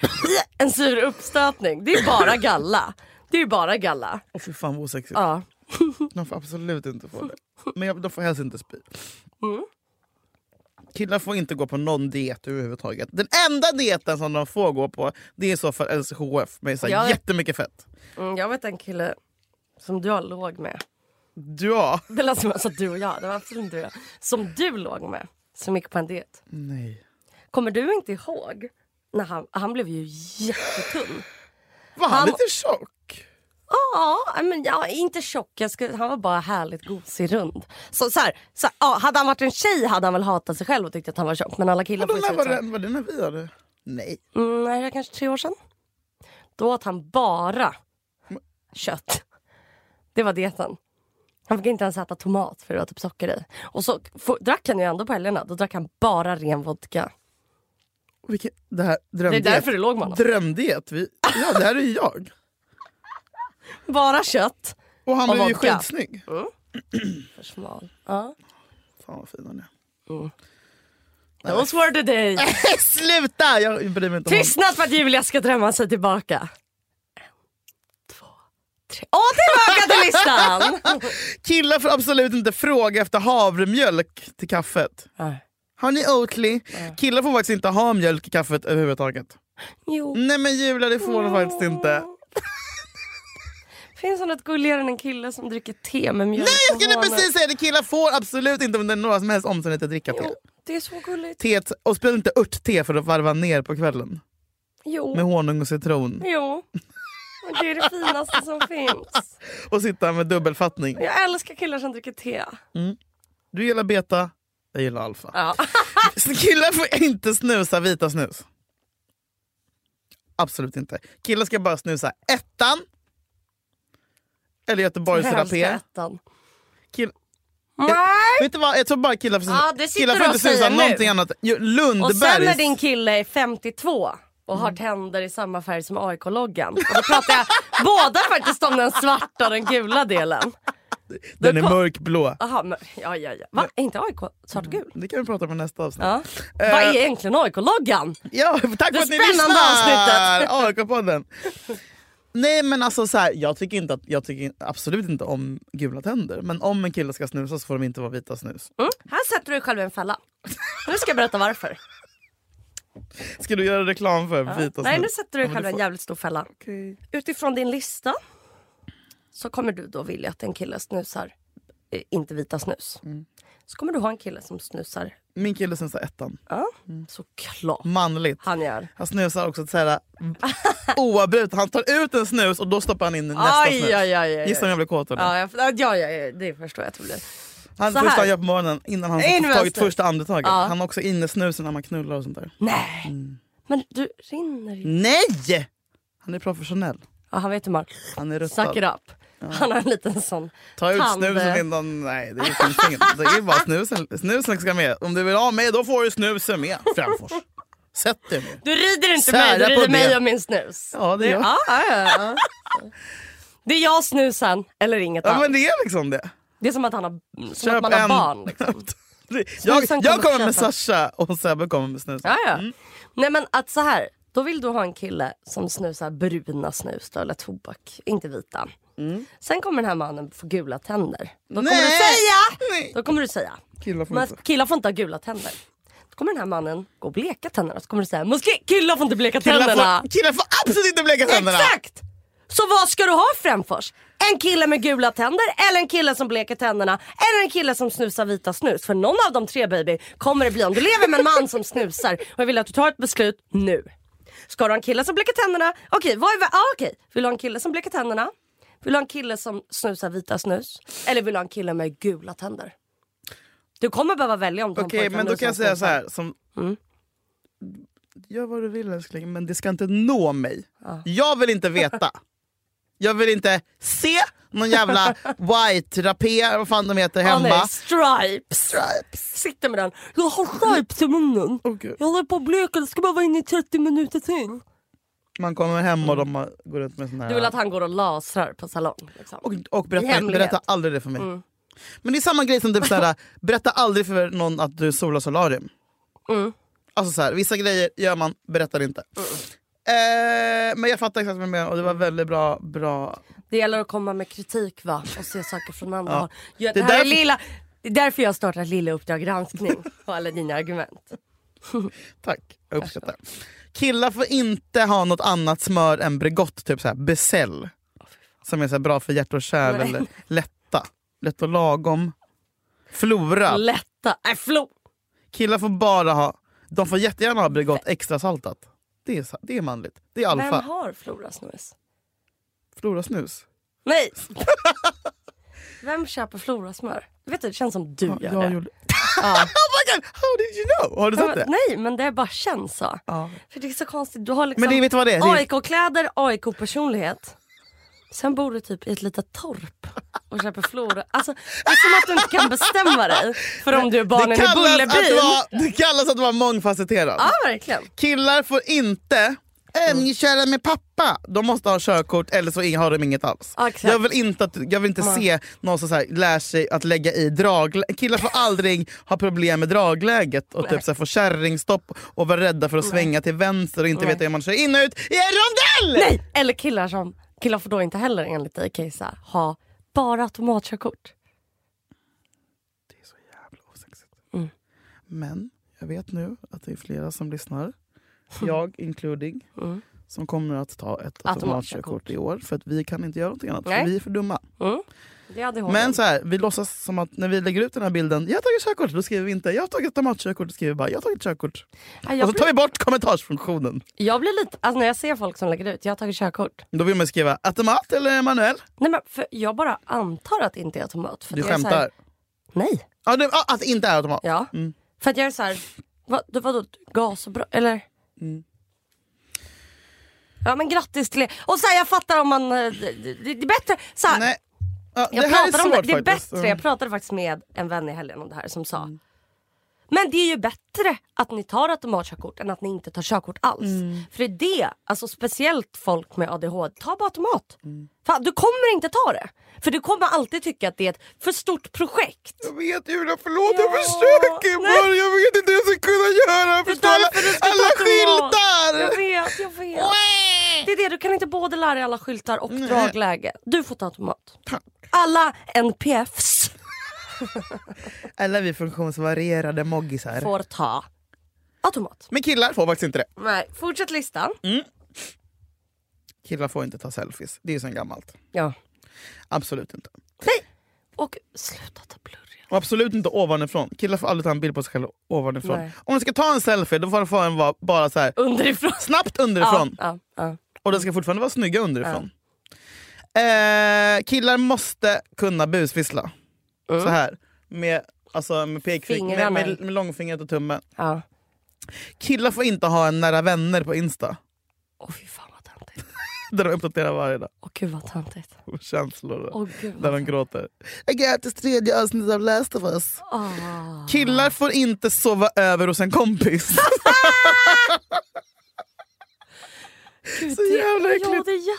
en sur uppstötning. Det är bara galla. Det är ju bara galla. Åh fy fan vad osexigt. Ja. De får absolut inte få det. Men jag- de får helst inte spy. Killar får inte gå på någon diet överhuvudtaget. Den enda dieten som de får gå på det är i så fall LCHF med så här Ja. jättemycket fett. Mm, jag vet en kille som du har låg med. Ja. Det lät som jag sa alltså, du och jag. Det var absolut inte jag. Som du låg med, som gick på en diet. Nej. Kommer du inte ihåg? När han, han blev ju jättetunn. Var han, Han- lite tjock? Ja, men ja, inte tjock. Jag skulle, han var bara härligt gosig rund. Så, så här, så, här, ja, hade han varit en tjej hade han väl hatat sig själv och tyckt att han var tjock. Men alla killar Var får ju det, när, se ut så var, här. det, var det när vi hade... Nej. Mm, nej, det är kanske tre år sedan. Då åt han bara kött. Det var dieten. Han fick inte ens äta tomat för det var typ socker i. Och så f- drack han ju ändå på helgerna. Då drack han bara ren vodka. Vilken, det här Det är drömdiet. därför du låg med honom. Drömdiet. Vi, ja, det här är ju jag. Bara kött. Och han Och blev ju vodka. skitsnygg. För smal. Ja. Fan vad fin han är. Those were the days. Mm. Sluta! Jag bryr mig inte om honom. Tystnad för att Julia ska drömma sig tillbaka. En, två, tre. Och tillbaka till listan! Killar får absolut inte fråga efter havremjölk till kaffet. Har ni Oatly? Killar får faktiskt inte ha mjölk i kaffet överhuvudtaget. Jo, Nej men Julia, det får de faktiskt inte. finns det något gulligare än en kille som dricker te med mjölk Nej, jag och skulle honung? precis säga det! Killar får absolut inte under några som helst omständigheter dricka te. Jo, det är så gulligt. Teet, och spela inte örtte för att varva ner på kvällen. Jo, Med honung och citron. jo. Och Det är det finaste som finns. Och sitta med dubbelfattning. Jag älskar killar som dricker te. Du gillar beta, jag gillar alfa. Ja. Så Killar får inte snusa vita snus. Absolut inte. Killar ska bara snusa ettan. Eller Göteborgs Helst rapé. ettan. Kill- Nej! Vet du vad, jag tror bara killar får Ja, det sitter killar får du inte och säger snusa nu. någonting annat. Jo, Och sen när Lundbergs. din kille är 52 och Mm. har tänder i samma färg som AIK-loggan. Och då pratar jag båda faktiskt om den svarta och den gula delen. Den är kom- mörkblå. Aha, men, ja, ja, ja. Va? Är inte AIK svart och gul? Det kan vi prata om i nästa avsnitt. Ja. Vad är egentligen AIK-loggan? Ja, tack Det för att ni spännande lyssnar! AIK-podden. Nej men alltså så här, jag tycker, inte att, jag tycker in- absolut inte om gula tänder. Men om en kille ska snusa så får de inte vara vita snus. Mm? Här sätter du dig själv i en fälla. Nu ska jag berätta varför. Ska du göra reklam för vita Nej, nu snus? sätter du men dig själv i du en får- jävligt stor fälla. Okej. Utifrån din lista så kommer du då vilja att en kille snusar eh, inte vita snus. Mm. Så kommer du ha en kille som snusar, Min kille snusar ettan. ja, såklart Manligt. han gör. Han snusar också så här, oavbrutet. Han tar ut en snus och då stoppar han in nästa Aj, snus. aj, aj, aj, Gissa om aj. jag blir kåt av det. Ja, jag, ja, ja, ja, det förstår jag att det blir. Han, så första här. han gör på morgonen innan han In med tagit snus. första andetaget. Ja. Han har också innesnusen när man knullar och sånt där. Nej, Mm. men du rinner ju. Nej! Han är professionell. Ja, han vet hur man Han är ruttad. suck it up. Han har en liten sån Ta ut tand- snusen innan... Nej, det finns inget. Det är bara snusen, snusen ska med. Om du vill ha med, då får du snusen med. Framfors. Sätt dig med. Du rider inte Sära mig, du på rider det. mig och min snus. Ja, det är jag. Ja, ja, ja, ja. Det är jag, snusen eller inget Ja, annat. men det är liksom det. Det är som att, han har, som Köp att man har en. barn. Liksom. Jag, Snusen jag kommer kommer med köpa. Sasha och Sebbe kommer med snusen. Ja, ja. Nej men att så här. Då vill du ha en kille som snusar bruna snus då, eller tobak, inte vita. Mm. Sen kommer den här mannen få gula tänder. Då kommer du säga, Nej. då kommer du säga Killar får men inte. killar får inte ha gula tänder. Då kommer den här mannen gå och bleka tänderna. Så kommer du säga, men ska- killar får inte bleka Killar tänderna. får, killar får absolut inte bleka tänderna! Exakt! Så vad ska du ha framförs? En kille med gula tänder eller en kille som bleker tänderna eller en kille som snusar vita snus. För någon av de tre baby kommer det bli om du lever med en man som snusar och jag vill att du tar ett beslut nu. Ska du ha en kille som bleker tänderna? Okej, vad är... Ah, okej. Vill du ha en kille som bleker tänderna? Vill du ha en kille som snusar vita snus? Eller vill du ha en kille med gula tänder? Du kommer behöva välja om du har en Okej, pojkvän men nu då kan jag som säga så snusar. här. Mm. Som, Gör vad du vill älskling, men det ska inte nå mig. Jag vill inte veta. Jag vill inte se någon jävla white rapé, vad fan de heter, Ah, hemma. nej, stripes. Stripes. Sitter med den. Jag har stripes i munnen. Åh, gud. Jag håller på att bleka, det ska bara vara inne i 30 minuter till. Man kommer hem och de har- går runt med sån här... Du vill att han går och lasrar på salong? Liksom. Och, och I berätta, hemlighet. Mm. berätta aldrig det för mig. Men det är samma grej som typ såhär, berätta aldrig för någon att du solar solarium. Mm. Alltså såhär, vissa grejer gör man, berättar inte. Eh, men jag fattar exakt vad du menar och det var väldigt bra. bra. Det gäller att komma med kritik va? och se saker från andra håll. Ja, Det det, är här är därför- lilla, det är därför jag har startat Lilla Uppdrag granskning på alla dina argument. Tack, jag uppskattar. Killar får inte ha något annat smör än Bregott, typ såhär Besell. Som är såhär bra för hjärt och kärl Nej. eller lätta. Lätt och lagom. Flora. Lätta, Äh, nej förlåt. Killar får bara ha, de får jättegärna ha Bregott extra saltat. Det är, sa- det är manligt. Det är Vem alfa. har Flora snus? Flora snus. Nej! Vem köper Flora smör? Vet du, det känns som du gör det. gjorde... oh my god, how did you know? Har du Nej, sett det? men- Nej men det bara känns så. Ja. För det är så konstigt. Du har liksom Men det, vet du vad det är? Det är AIK-kläder, AIK-personlighet. Sen bor du typ i ett litet torp och köper flora. Alltså, det är som att du inte kan bestämma dig för om du är barnen det, i kallas att Bullerbyn. vara, det kallas att vara mångfacetterad. Ja, verkligen. Killar får inte köra med pappa. De måste ha körkort eller så har de inget alls. Ja, exakt. jag vill inte, att, jag vill inte se någon som så här, lär sig att lägga i drag. Killar får aldrig ha problem med dragläget och typ så här, få kärringstopp och vara rädda för att svänga till vänster och inte veta hur man kör in och ut i en rondell! Nej, eller killar som... Killar får då inte heller enligt dig Kajsa ha bara automatkörkort. osexigt. Mm. Men jag vet nu att det är flera som lyssnar, jag including, Mm. som kommer att ta ett automatkörkort i år. För att vi kan inte göra någonting annat, Nej. för vi är för dumma. Mm. Det hade hon. Men så här, vi låtsas som att när vi lägger ut den här bilden, jag har tagit körkort, då skriver vi inte jag har tagit automatkörkort, då skriver vi bara jag har tagit körkort. Ja, Och jag, så tar blir, vi bort kommentarsfunktionen. jag blir lite... Alltså när jag ser folk som lägger ut, jag har tagit körkort. Då vill man skriva automat eller manuell. Nej men för jag bara antar att det inte är automat. För Du att jag är så här- skämtar. Nej. Ja, det, ja, att det inte är automat. Ja. För Mm. att jag är så här, vad, vadå gas och bra, eller? Ja men grattis till er. Och så här, jag fattar om man... eh, Det, det, det är bättre. Så här, Nej. Ja, jag det här är pratade svårt om det. Det är faktiskt. Mm. bättre. Jag pratade faktiskt med en vän i helgen om det här som sa. Men det är ju bättre att ni tar automatkörkort än att ni inte tar körkort alls. Mm. För det är det, alltså speciellt folk med ADHD, ta bara automat. Mm. Fan, du kommer inte ta det. För du kommer alltid tycka att det är ett för stort projekt. Jag vet Julia, förlåt jag Ja. försöker bara. Jag vet inte hur jag ska kunna göra. Jag Det är förstår alla, därför du ska alla ta automat. Jag skyltar. vet, jag vet. Det är det, du kan inte både lära dig alla skyltar och dragläge. Du får ta automat. Alla NPFs Alla vi funktionsvarierade moggisar. får ta automat. Men killar får faktiskt inte det. Nej, fortsätt listan. Killar får inte ta selfies. Det är ju sen gammalt. Ja. Absolut inte. Och sluta ta blurriga. Och absolut inte ovanifrån. Killar får aldrig ta en bild på sig själva ovanifrån. Nej. Om de ska ta en selfie då får de få en vara bara så här Underifrån. snabbt underifrån. Ja, ja, Och de ska fortfarande vara snygga underifrån. Eh, killar måste kunna busvissla. Så här. Med, alltså, med, pekfing- med, Uh. Fingrarna. med, med långfingret och tummen. ja. Killar får inte ha en nära vänner på Insta. Åh fy fan vad töntigt. Där de uppdaterar varje dag. Åh gud vad töntigt. Och känslor. Åh gud där vad de gråter. Agatas tredje avsnitt av Last of Us. Ah. Killar får inte sova över hos en kompis. Gud, Så det- jävla Ja äckligt. det är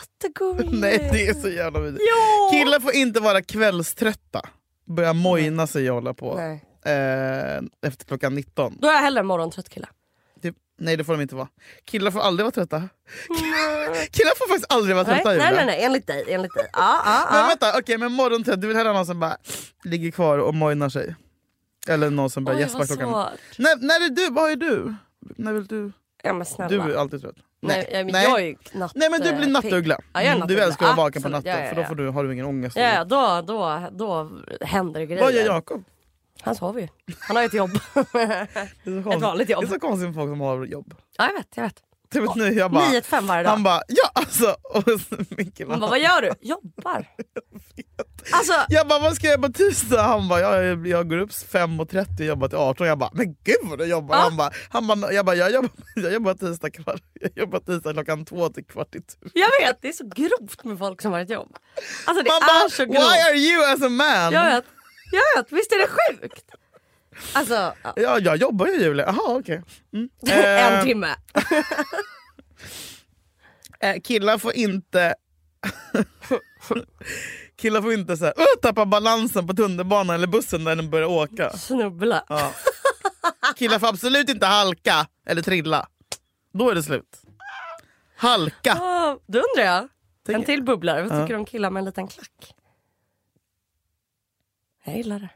jättegulligt. Nej det är så jävla vidrigt. Ja. Killar får inte vara kvällströtta. Börja mojna sig och hålla på. Nej. Eh, efter klockan 19. Då är jag hellre en morgontrött kille. Det, nej det får de inte vara. Killar får aldrig vara trötta. Killar får faktiskt aldrig vara trötta nej, Julia. nej, nej, enligt dig. Enligt dig. Ja, ja, Men ja. vänta, okej men morgontrött, du vill hellre ha någon som bara ligger kvar och mojnar sig? Eller någon som bara Oj, gäspar vad klockan... svårt. När, när är du? Vad är du? När vill du? Ja, men snälla. Du är alltid trött. nej, nej, men nej. jag är ju natt, nej men du eh, blir pigg. nattuggla. Ja, jag är Mm, du nattuggla. älskar att vara vaken på Absolut, natten ja, ja, för då ja. får du, har du ingen ångest. Ja, ja, då, då, då händer det grejer. Vad gör Jakob? Han sover ju. Han har ju ett jobb. Det är, så konstigt- vanligt jobb. det är så konstigt med folk som har jobb. ja, jag vet, jag vet. Typ nu, jag bara, 9 till 5 varje dag. han bara ja alltså. Och så Mikael, Hon bara, vad gör du? Jobbar. Alltså, Jag bara, vad ska jag göra på tisdag? Han bara, jag, jag, jag går upp 5.30 och jobbar till 18. Jag bara, men gud vad du jobbar! Ja. Han bara, han bara, jag, bara jag, jobbar, jag jobbar tisdag kvart, jag jobbar tisdag klockan två till kvart i tur. jag vet, det är så grovt med folk som har ett jobb. Alltså det Man är så bara, grovt. why are you as a man? Jag vet, jag vet, visst är det sjukt? Alltså, ja. Ja, jag jobbar ju Julia. Jaha okej. Mm. en Eh, timme. eh, killar får inte... killar får inte så här, "Åh, tappa balansen på tunnelbanan eller bussen när den börjar åka. Snubbla. Ja. Killar får absolut inte halka eller trilla. Då är det slut. Halka. Ah, då undrar jag, en Tänk- till bubblare. Vad Ja. tycker du om killar med en liten klack? Jag gillar det.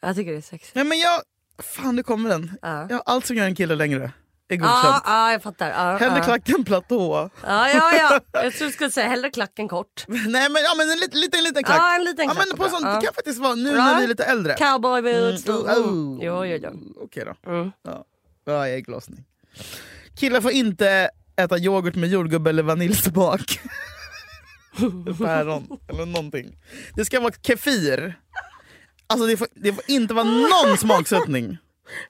Jag tycker det är sexigt. Nej men jag... Fan nu kommer den. Ja. Ja, allt som gör en kille längre är Ja, godkänt. ja, jag fattar. Ja, Hellre ja. klacken platå. Ja, ja, ja. Jag tror du skulle säga hellre klacken kort. Nej men, ja, men en liten, liten, liten klack. Ja, en liten Ja, klack. men på sånt, Ja. Det kan faktiskt vara nu Ja. när vi är lite äldre. Cowboyboots. Mm, oh, oh. Jo, jo, jo. Okej då. Mm. Ja. Ja, ägglossning. Killar får inte äta yoghurt med jordgubbe eller vaniljsmak. Päron eller någonting. Det ska vara kefir. Alltså det får, det får inte vara någon smaksättning.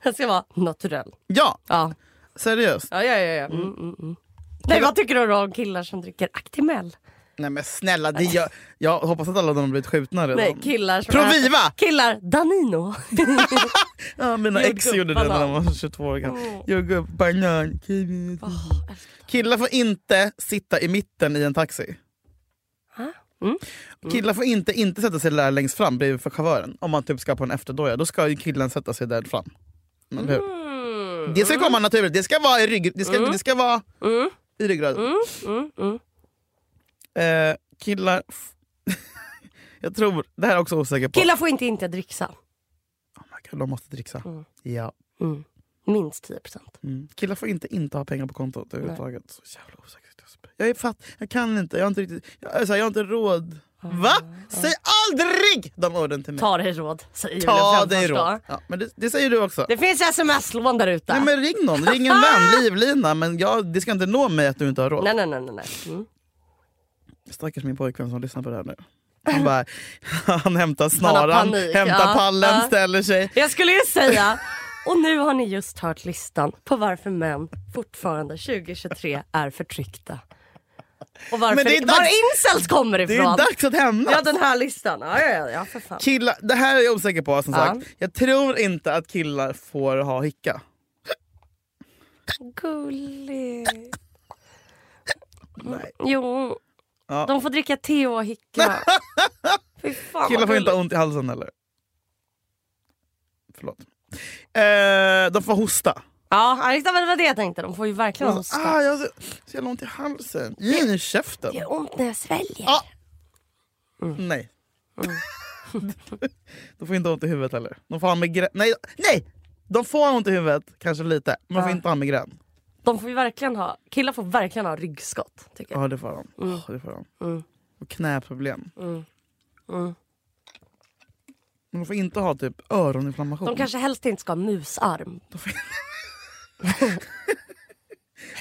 Den ska vara naturell. Ja, Ja, seriöst. ja, ja. ja, ja. Mm, mm, mm. Nej, vad tycker du om killar som dricker Actimel? Nej men snälla, det jag, jag hoppas att alla de har blivit skjutna redan. Nej, killar som Proviva! Killar Danino. Ja, mina ex Jordgubb, gjorde det när de banan. var 22 år gamla. Jordgubb, banan, kiwi. Killar får inte sitta i mitten i en taxi. Mm. Killar får inte inte sätta sig där längst fram bredvid för chauffören. Om man typ ska på en efterdoja, då ska ju killen sätta sig där fram. Men hur? Mm. Det ska komma naturligt, det ska vara i rygg, det ska, det ska vara Mm. i ryggraden. Mm, mm, mm. Eh, killar... f- jag tror, det här är jag också osäker på. Killar får inte inte dricksa. Oh my God, de måste dricksa. Mm. Ja. Mm. Minst 10 procent. Mm. Killar får inte inte ha pengar på kontot överhuvudtaget. Så jävla osäkert. Jag är fatt, jag kan inte, jag har inte riktigt, jag, är så här, jag har inte råd. Va? Säg aldrig de orden till mig. Ta dig råd, säger Ta julen dig framförs råd. då. Ja, men det, det säger du också. Det finns sms-lån där ute. Nej, Nej, men ring någon, ring en vän, livlina. Men jag, det ska inte nå mig att du inte har råd. nej, nej. nej, nej. Mm. Stackars min pojkvän som lyssnar på det här nu. Han, bara, han hämtar Han har snaran, panik, hämtar ja, pallen, ja. ställer sig. Jag skulle ju säga Och nu har ni just hört listan på varför män fortfarande 2023 är förtryckta. Och varför, Men det är dags- var incels kommer Det ifrån. är dags att hämnas. Ja den här listan, ja ja ja, ja för fan. Killar, det här är jag osäker på som Ja. sagt. Jag tror inte att killar får ha hicka. Gullig. Nej. Jo, Ja. de får dricka te och hicka. Fy fan vad Killar får inte gulligt. ha ont i halsen heller. Förlåt. Eh, de får hosta. Ja, exakt, men det var det jag tänkte. De får ju verkligen Ah, hosta. jag har så så jävla ont i halsen. Ge mig käften. Det gör ont när jag sväljer. Ah. Nej. Mm. de får inte ha ont i huvudet heller. De får ha migrän. Nej, nej! De får ha ont i huvudet, kanske lite. Men de får Ja. inte ha migrän. De får ju verkligen ha, killar får verkligen ha ryggskott. Tycker jag. Ja, det får de. Mm. Åh, det får de. Mm. Och knäproblem. Mm. Mm. Men de får inte ha typ öroninflammation. De kanske helst inte ska ha musarm.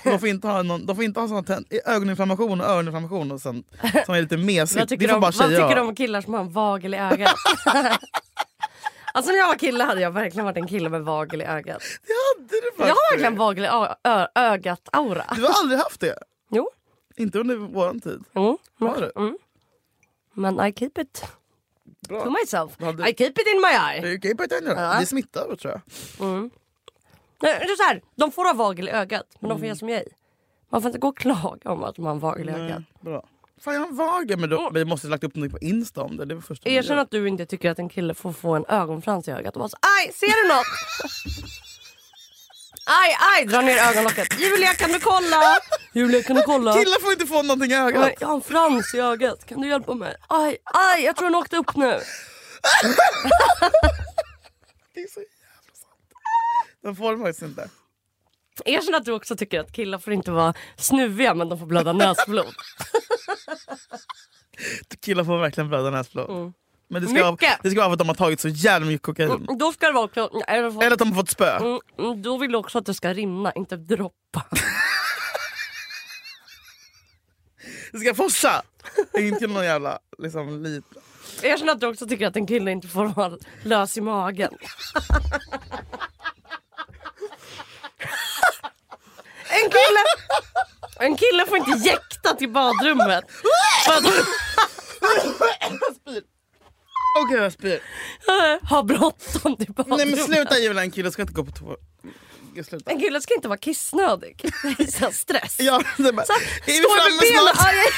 Och De får inte ha, någon, de får inte ha sån här tän- ögoninflammation och öroninflammation och sånt, som är lite Vad mesigt. Det tycker, får de, bara vad tjejer tycker de ha. om killar som har en vagel i ögat? alltså när jag var kille hade jag verkligen varit en kille med vagel i ögat. Det hade du faktiskt. Jag har verkligen vagel i ö- ö- ögat-aura. Du har aldrig haft det? Jo. Inte under vår tid. Mm. Har du? Mm. Men I keep it to Bra. myself. Vad hade- I keep it in my eye. Du kan ju på ett ändå. Ja. Det smittar över, tror jag. Mm. Nej, det är så här, de får ha vagel i ögat, men de får göra som jag. Man får inte gå och klaga om att de har en vagel i ögat. Nej, Mm. Bra. Fan, jag har en vagel. Men Mm. då, vi måste ha lagt upp någonting på Insta om det. det var första vi Erkänn gör. att du inte tycker att en kille får få en ögonfrans i ögat och bara så, aj, ser du något? Aj, aj, dra ner ögonlocket. Julia kan du kolla? Julia kan du kolla? Killar får inte få någonting i ögat. Oj, jag har en frans i ögat, kan du hjälpa mig? Aj, aj, jag tror den åkte upp nu. Det är så jävla sant. De får det faktiskt inte. Erkänn att du också tycker att killar får inte vara snuviga men de får blöda näsblod. Killar får verkligen blöda näsblod. Men det ska, vara, Mm. Mycket. Mm. det ska vara för att de har tagit så jävla mycket kokain. Då ska det vara också... eller så- Eller att de har fått spö. Mm, mm, Då vill du också att det ska rinna, inte droppa. Det ska forsa! inte någon jävla liksom, liten... Erkänn att du också tycker att en kille inte får vara lös i magen. En kille, en kille får inte jäkta till badrummet. För att Åh gud jag spyr. ha bråttom till badrummet. Nej men sluta Julia, en kille ska inte gå på toa. Jag slutar. En kille ska inte vara kissnödig. Det är så här stress. Ja, det är bara, Så, är vi står med framme benen- snart? Aj, aj.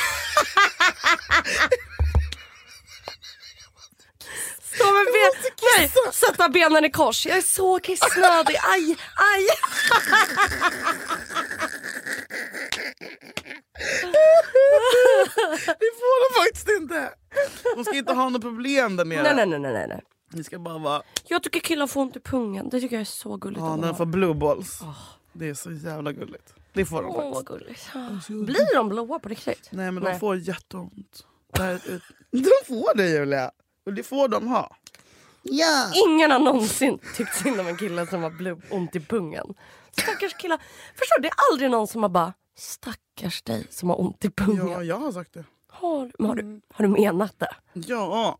Stå med ben... Nej, sätta benen i kors. Jag är så kissnödig. Aj, aj. Det får de faktiskt inte. De ska inte ha något problem där nere. Nej, nej, nej, nej, nej. Ni ska bara vara... Jag tycker killar får ont i pungen. Det tycker jag är så gulligt. Ja, att de när de har. får blue balls. Det är så jävla gulligt. Det får de Åh, vad faktiskt. gulligt. Blir de blåa på riktigt? Nej men de får jätteont. Det här är ett- De får det Julia. Och det får de ha. Ja. Ingen har någonsin tyckt synd om en kille som har blod, ont i pungen. Stackars killar. Förstår du, det är aldrig någon som har bara stackars dig som har ont i pungen. Ja, jag har sagt det. Har, du- har, du, har du menat det? Ja.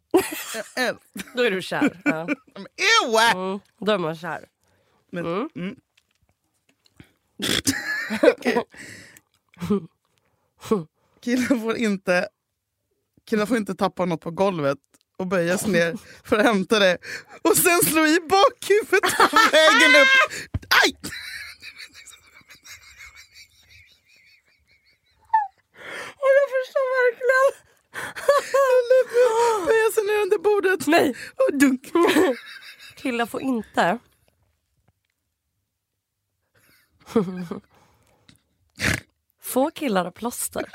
Jag älskar- Då är du kär. Ja. Men Ew! Mm, då är man kär. Men, Mm. mm. killar får inte killar får inte tappa något på golvet och böja sig ner för att hämta det och sen slå i bakhuvudet på vägen upp. Aj! Och jag förstår verkligen. Böja sig ner under bordet. Nej. Och dunk. Killar får inte. Få killar har plåster.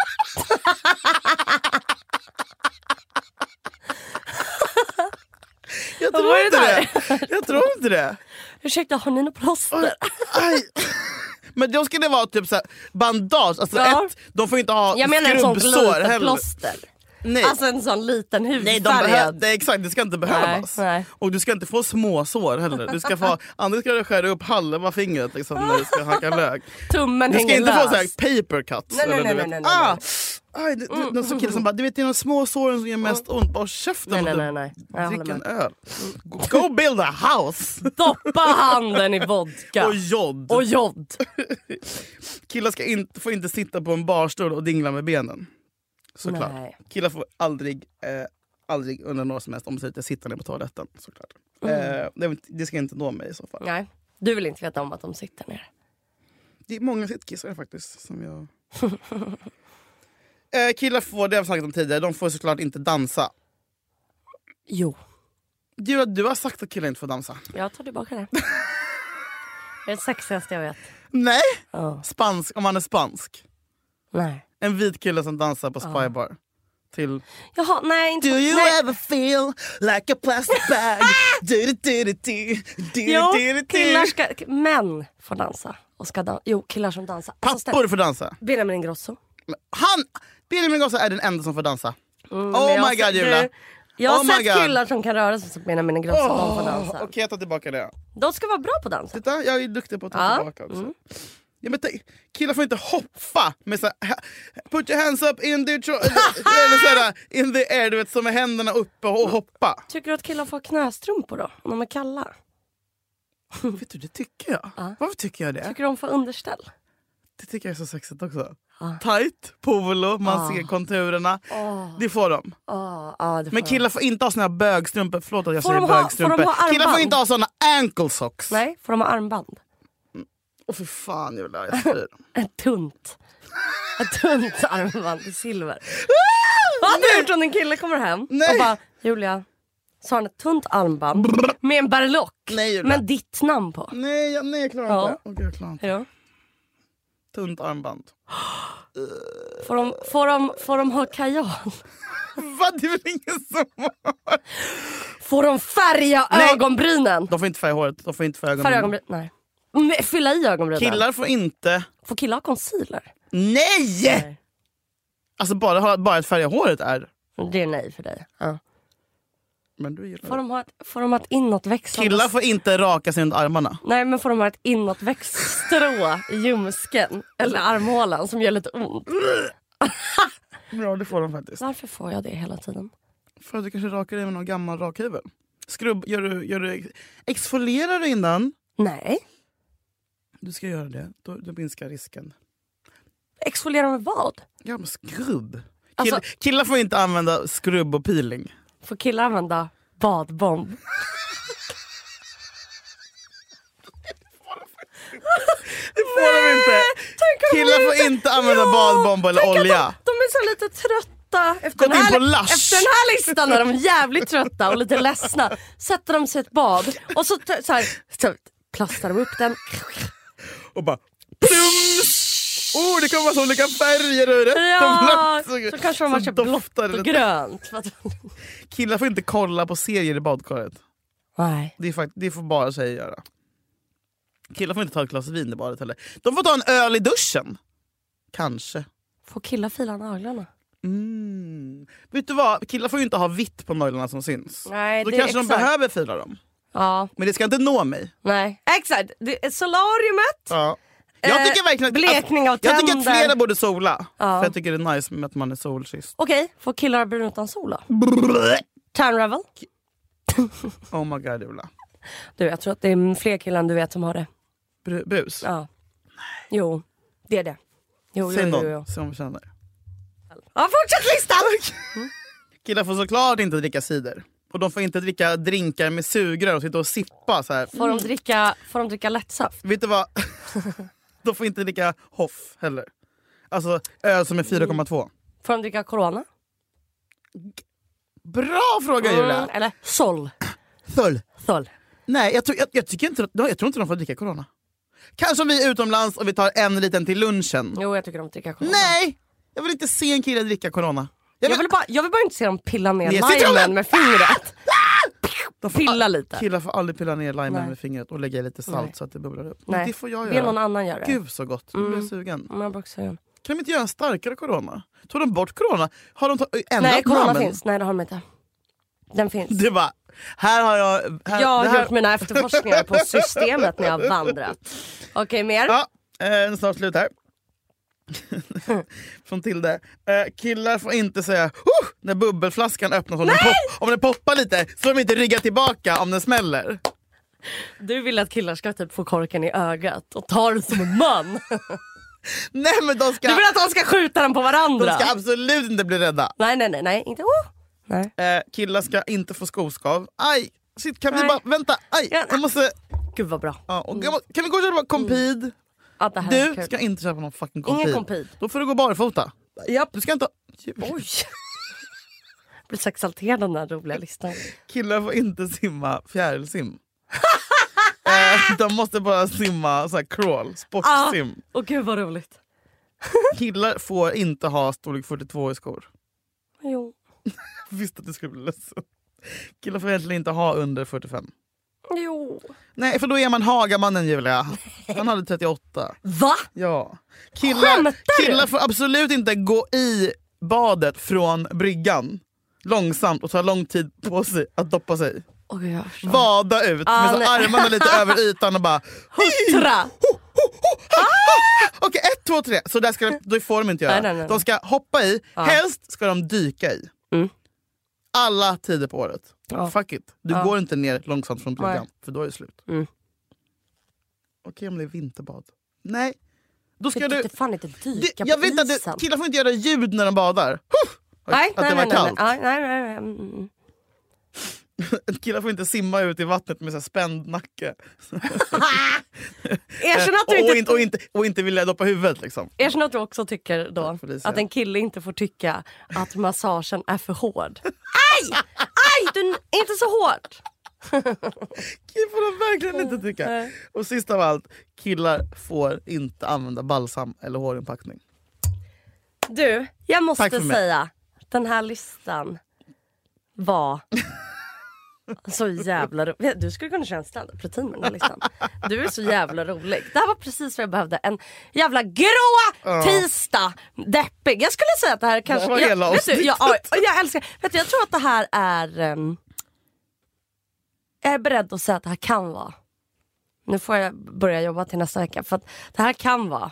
Jag Vad tror var det inte det. där? Jag tror inte det. Ursäkta, har ni något plåster? Aj. Men då ska det vara typ så här bandage. Alltså Ja. ett, de får inte ha Jag menar ett sånt skrubbsår litet heller. plåster. Nej. Alltså en sån liten Nej, de behö- hudfärgad. det, är exakt, det ska inte behövas. Nej, nej. Och du ska inte få småsår heller. Du ska få, annars ska du skära upp halva fingret liksom, när du ska hacka lök. Tummen Du ska hänger inte lös. få så här paper cuts. Nej, nej, eller nej, du nej, vet, Mm, nej, nej, ah, Aj, det, det, någon sån kille som bara, du vet det är de små såren som gör mest ont. Bara håll käften Mm. Nej, och nej, du- nej, nej. Jag drick håller en med. öl. Go build a house! Doppa handen i vodka. Och jod. Och jod. Killar ska inte, får inte sitta på en barstol och dingla med benen. Såklart. Nej. Killar får aldrig, eh, aldrig under några som helst omständigheter sitta ner på toaletten. Såklart. Mm. Eh, det, det ska inte nå mig i så fall. Nej, du vill inte veta om att de sitter ner. Det är många sittkissare faktiskt. som jag... eh, killar får, det har vi snackat om tidigare, de får såklart inte dansa. Jo, Du, du har sagt att killar inte får dansa. jag tar tillbaka det. Det är det sexigaste jag vet. Nej! Ja. Spansk, om han är spansk. Nej. En vit kille som dansar på spybar. Till... Jaha, nej. Inte, Do you nej. ever feel like a plastic bag? do do do do do Jo, do do killar do ska, män får dansa. Och ska dan- jo, killar som dansar. Alltså, ställ- Pappor Oh får dansa. Benjamin Ingrosso. Han, Benjamin Ingrosso är den enda som får dansa. Oh Mm, men jag har my god sett- Julia. du, Jag har Oh my sett God. killar som kan röra sig som Benjamin Ingrosso. de får dansa. Okej jag tar tillbaka det. De ska vara bra på dansen. Titta jag är duktig på att ta Ja, Mm. tillbaka också. Ja, men tänk, killar får inte hoppa med så här, put your hands up in the, tro- eller så här, in the air, du vet, som med händerna uppe och hoppa. Tycker du att killar får ha knästrumpor då? Om de är kalla? Vet du, det tycker jag. Varför tycker jag det? Tycker du de får underställ? Det tycker jag är så sexigt också. Ah. Tight, polo, man ser konturerna. Det får de. Ja, ja, det får Men de. killar Ah, får inte ha såna här bögstrumpor. Förlåt att jag Ah. Får säger de ha- bögstrumpor. får de ha killar får armband? inte ha såna ankle socks. Nej, får de ha armband? Åh för fan Julia, jag spyr. Ett tunt. Ett tunt armband i silver. Vad hade du gjort om din kille kommer hem Ah! Nej. och bara Julia, så har han ett tunt armband med en berlock Nej, Julia. med ditt namn på. nej, jag, nej jag klarar Ja. inte. Åh, gud, jag klarar inte. Hejdå. Tunt armband. Får de, får, de, får de ha kajal? Va? Det är väl ingen som har? Får de färga Nej. ögonbrynen? De får inte färga håret. De får inte färga Färga ögonen. ögonbrynen? Nej. Mm, Nej. Fylla i ögonbrynen? Killar får inte... Får killar ha concealer? Nej! Nej. Alltså bara, ha- bara att färga håret är... Det är nej för dig. Ja. Men du gillar Får, det. de ha ett, får de ha ett inåtväxande... Killar får inte raka sig under armarna. Nej men får de ha ett inåtväxt strå i ljumsken eller armhålan som gör lite ont. Ja det får de faktiskt. Varför får jag det hela tiden? För att du kanske rakar dig med någon gammal rakhyvel. Skrubb, gör du, gör du, exfolierar du innan? Nej. Du ska göra det. Då, då minskar risken. Exfoliera med vad? Ja men skrubb. Kill, Alltså- killar får inte använda skrubb och peeling. Får killar använda badbomb? Det får de inte. Tänk om Killar de får inte- inte använda Ja, badbomb eller tänk att olja. De, de är så lite trötta. Efter Gått den, in på här, Lush. efter den här listan är de jävligt trötta och lite ledsna. Sätter de sig i ett bad och så, t- så, här, så plastar de upp den. Och bara... Plums! Oh, det kommer massa olika färger ur ett Ja, och blått. så kanske de har Så köpt blått doftar det och lite. grönt. För att- Killar får inte kolla på serier i badkaret. Nej. Det, är fakt- det får bara tjejer göra. Killar får inte ta ett glas vin i badet heller. De får ta en öl i duschen. Kanske. Får killar fila naglarna? Mm. Vet du vad? Killar får ju inte ha vitt på naglarna som syns. Nej, Då det- kanske de exakt. behöver fila dem. Ja, Men det ska inte nå mig. nej. Exakt, det är solariumet. Ja. Jag Eh, tycker verkligen att, blekning av att, jag tycker att tänder. flera borde sola. För jag tycker det är nice med att man är solkysst. Okej, får killar ha brun utan sol då? Tanravel? Oh my god Ola. Du, jag tror att det är fler killar än du vet som har det. Bru- Bus. Ja. Jo, det är det. Jo, jo, Säg jo, jo. någon som känner. Mm. Ja, fortsätt listan! Killar får såklart inte dricka cider. Och de får inte dricka drinkar med sugrör och sitta och sippa så här. Får de dricka, får de dricka lättsaft? Vet du vad? de får inte dricka hoff heller. Alltså öl som är 4,2. Får de dricka corona? Bra fråga Julia! Mm, eller sol. Full. Sol. Nej, jag, tror- jag, jag, tycker inte, jag tror inte de får dricka corona. Kanske om vi är utomlands och vi tar en liten till lunchen. Jo, jag tycker de dricker corona. Nej! Jag vill inte se en kille dricka corona. Jag Jag vill, vill, bara, jag vill bara inte se dem pilla ner Ner citronen! limen med fingret. Ah! de får, Pilla lite. Killar får aldrig pilla ner limen Nej. med fingret och lägga i lite salt Nej. så att det bubblar upp. Men Nej, Det får jag Det är någon göra. annan Mm. gör det. Gud så gott, nu blir jag sugen. Men jag bara också göra. Kan de inte göra en starkare corona? Tog de bort corona? Har de ta- ändrat Nej, corona namnen? finns. Nej, det har de inte. Den finns. Det bara, här har jag... Här, Jag det har här, gjort mina efterforskningar på systemet när jag har vandrat. Okej, mer? Ja, eh, snart slut här. från Tilde. Eh, killar får inte säga oh! när bubbelflaskan öppnas. Om den, pop- om den poppar lite så de inte ryggar tillbaka om den smäller. Du vill att killar ska typ få korken i ögat och ta den som en man. Nej men de ska, Du vill att de ska skjuta den på de varandra. ska absolut inte bli rädda. Nej, nej, nej. nej. Inte. Oh. nej. Eh, killar ska inte få skoskav. Aj! Shit, kan vi Nej. bara... Vänta! Aj! Ja. mm. Jag måste... Gud vad bra. Ja, och, Kan vi gå och köpa kompid? Ja, det här är Du kul. ska inte köpa någon fucking Mm. Ingen kompid. kompid. Då får du gå barfota. Japp. Du ska inte... Oj. Jag blir så exalterad av den här roliga listan. Killar får inte simma fjärilsim. eh, de måste bara simma så här crawl, sportsim. Åh gud vad roligt. Killar får inte ha storlek 42 i skor. Jo. Jag visste att du skulle bli ledsen. Killar får egentligen inte ha under 45. Jo. Nej, för då är man Hagamannen Julia. Han hade 38. Va? Ja. Killar, Skämtar du? killar får absolut inte gå i badet från bryggan långsamt och ta lång tid på sig att doppa sig. Åh gud jag förstår. Vada ut Ah, med så nej. armarna lite över ytan och bara... Huttra! Okej, ett, två, tre. Så där ska de, då får de inte göra. Nej, nej, nej. De ska hoppa i, helst ska de dyka i. Mm. Alla tider på året. Ja. Fuck it. Du går inte ner långsamt från bryggan, Nej. för då är det slut. Mm. Okej om det är vinterbad. Nej. Då ska Ska du... du fan inte Du, dyka jag på vet isen. att det, killar får inte göra ljud när de badar. Huh! nej, att nej, det var nej, nej, kallt. nej, nej, nej, nej. mm, mm. Killar får inte simma ut i vattnet med så här spänd nacke. Erkänn att du och, och, inte, inte, och, inte, och inte vilja doppa huvudet. Liksom. erkänn att du också tycker då Tack för det, Sia. att en kille inte får tycka att massagen är för hård. Aj! Aj! Du är inte så hård. Killar får de verkligen inte tycka. Nej. Och sist av allt, killar får inte använda balsam eller hårinpackning. Du, jag Tack för måste mig. säga den här listan var så jävla rolig. Du skulle kunna köra en standup-rutin med den här listan. Du är så jävla rolig. Det här var precis vad jag behövde. En jävla grå tisdag. Deppig. Jag skulle säga att det här kanske... var jag, hela vet du, jag, ja, avsnittet. jag älskar... Vet du, jag tror att det här är... ehm, jag är beredd att säga att det här kan vara... Nu får jag börja jobba till nästa vecka. För att det här kan vara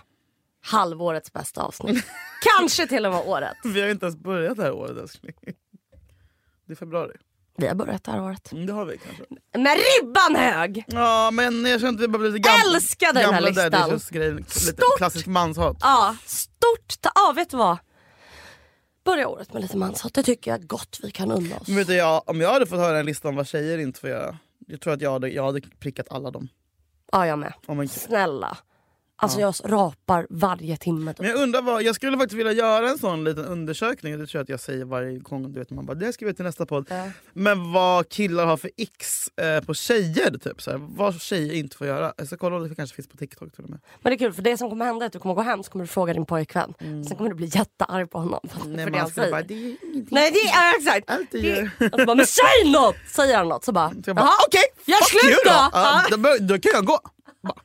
halvårets bästa avsnitt. Kanske till och med året. Vi har ju inte ens börjat det här året älskling. Det är februari. Vi har börjat det här året. Mm, Det har vi kanske. Med ribban hög! Ja men jag känner att vi börjar bli lite gamla. Älskar den här gamla listan. Där, det grejen, lite Stort. klassisk manshat. Ja, stort. Ta- Ja, vet du vad? Börja året med lite manshat. Det tycker jag gott vi kan unna oss. Men vet du, jag, om jag hade fått höra en lista om vad tjejer inte får göra. Jag tror att jag hade, jag hade prickat alla dem. Ja, jag med. Om en kille. Snälla. Alltså jag rapar varje timme. typ. Men jag undrar vad, jag skulle faktiskt vilja göra en sån liten undersökning, det tror jag att jag säger varje gång, du vet man bara det ska vi till nästa podd. Ja. Men vad killar har för x eh, på tjejer, typ. Så här, vad tjejer inte får göra. Jag ska kolla om det kanske finns på TikTok till och med. Men det är kul för det som kommer hända är att du kommer gå hem så kommer du fråga din pojkvän. Mm. Sen kommer du bli jättearg på honom för, för det skulle han säger. bara, det är ju ingenting. Nej det är exakt! Allt du Det- gör. Och så bara, men säg något! Säger han något så bara, Så jag bara, jaha okej, gör fuck slut you då! Ja, Ja. då, bör- då kan jag gå. Bara.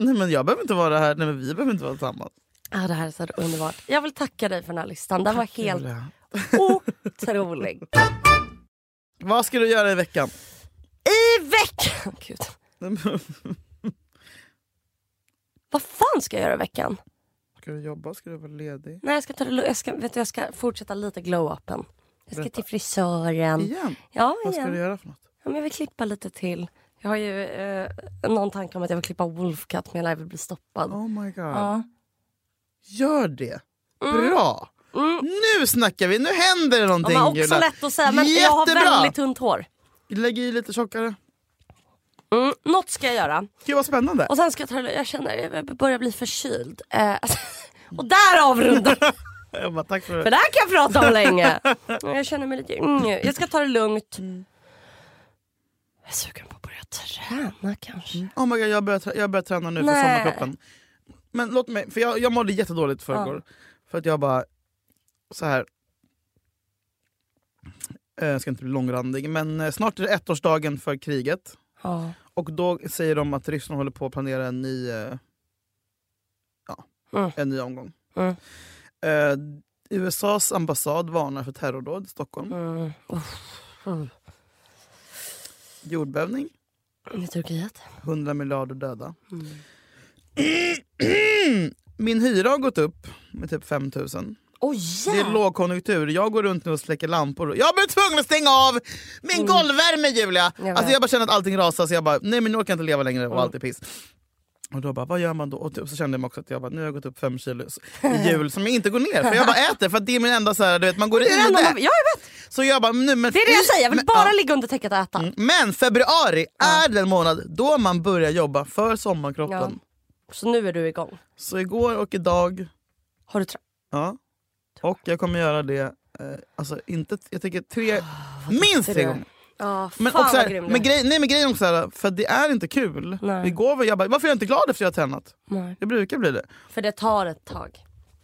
Nej men jag behöver inte vara här, nej men vi behöver inte vara tillsammans. Ah, det här är så underbart. Jag vill tacka dig för den här listan. Den var helt Julia. otrolig. Vad ska du göra i veckan? I veckan... Gud. Vad fan ska jag göra i veckan? Ska du jobba? Ska du vara ledig? Nej, jag, ska ta det, lu- jag, ska, vet du, jag ska fortsätta lite glow-upen. Jag ska till frisören. Igen? Ja, Vad ska igen. du göra för något? Ja, men jag vill klippa lite till. Jag har ju eh, någon tanke om att jag vill klippa Wolfcut men jag lär väl bli stoppad. Oh my god. Ja. Gör det! Bra! Nu snackar vi, nu händer det Mm. Ja, någonting men också Julia. lätt att säga men jag har Jättebra. väldigt tunt hår. Lägg i lite tjockare. Mm, något ska jag göra. Gud vad spännande. Och sen ska jag ta det Jag känner jag börjar bli förkyld. Eh, och där avrundar Jag bara, tack för För det. det här kan jag prata om länge. Jag känner mig lite... Mm, jag ska ta det lugnt. Mm. Jag är sugen på att börja träna kanske. Oh my god, jag börjar, trä- jag börjar träna nu för Nej. sommarkroppen. Men låt mig, för jag, jag mådde jättedåligt förrgår. För att jag bara, så här. Eh, Jag ska inte bli långrandig, men eh, snart är det ettårsdagen för kriget. Ja. Och då säger de att Ryssland håller på att planera en ny, eh, ja, Mm. en ny omgång. Mm. Eh, USAs ambassad varnar för terrordåd i Stockholm. Mm. Mm. Jordbävning, I Turkiet. Mm. 100 miljarder döda. Min hyra har gått upp med typ 5 000. Åh Det är jävlar. lågkonjunktur. Jag går runt nu och släcker lampor. Jag blir tvungen att stänga av min golvvärme Julia! Mm. Jag vet. Mm. alltså jag bara känner att allting rasar så jag bara, nej men nu orkar jag inte leva längre och allt är piss. Och då bara, vad gör man då? Och typ så kände jag mig också att jag bara, nu har jag gått upp fem kilo i jul som jag inte går ner för jag bara äter för att det är min enda så här, du vet man går i Det är det enda man- det. Ja, jag vet. Så jag bara, nu men Det är det jag säger. Jag vill men- bara ja. Mm, ligga under täcket och äta. Men februari är den månad då man börjar jobba för sommarkroppen. Så nu är du igång. Så igår och idag Har du tra- Ja. Och jag kommer göra det, eh, alltså inte, jag tänker tre, minst tre Ah, du? gånger. Ja, fan Men, också, vad här, grym men, du är. grej, nej, men grejen är också här, för det är inte kul. Nej. Igår var jag bara, varför är jag inte glad efter jag har tränat? Nej. Jag brukar bli det. För det tar ett tag.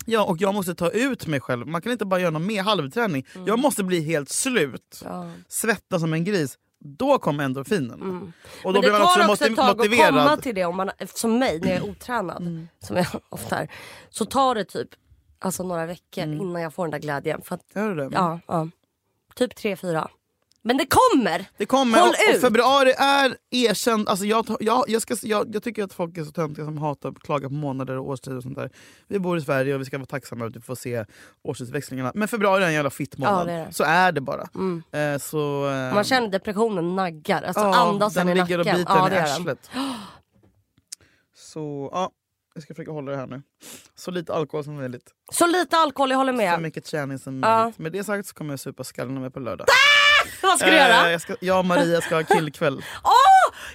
Ja, och jag måste ta ut mig själv. Man kan inte bara göra någon mer halvträning. Jag måste bli helt slut. Mm. Ja. Svettas som en gris. Då kommer endorfinen. Och Mm. Men då det blir man också, tar också moti- ett tag motiverad. Mm. att komma till det. Om man, som mig när jag är otränad, som jag ofta är, så tar det typ alltså, några veckor Mm. innan jag får den där glädjen. För att, Gör du det? ja, ja, typ tre, fyra. Men det kommer! Det kommer, Håll och, och ut! februari är erkänd. Alltså jag, tar- jag, jag, ska, jag, jag tycker att folk är så töntiga som hatar att klaga på månader och årstider. och sånt där. Vi bor i Sverige och vi ska vara tacksamma att vi får se årstidsväxlingarna. Men februari är en jävla fittmånad. Ja, det är det. Så är det bara. Eh, så, eh, Man känner depressionen naggar, alltså ja, andasen i den ligger nacken. och biter ja, en det i gör den. arslet. Så ja, jag ska försöka hålla det här nu. Så lite alkohol som möjligt. Så lite alkohol, jag håller Så med. mycket träning som Ja. möjligt. Med det sagt så kommer jag supa skallen av mig på lördag. Vad ska du göra? Eh, jag, ska, jag och Maria ska ha killkväll.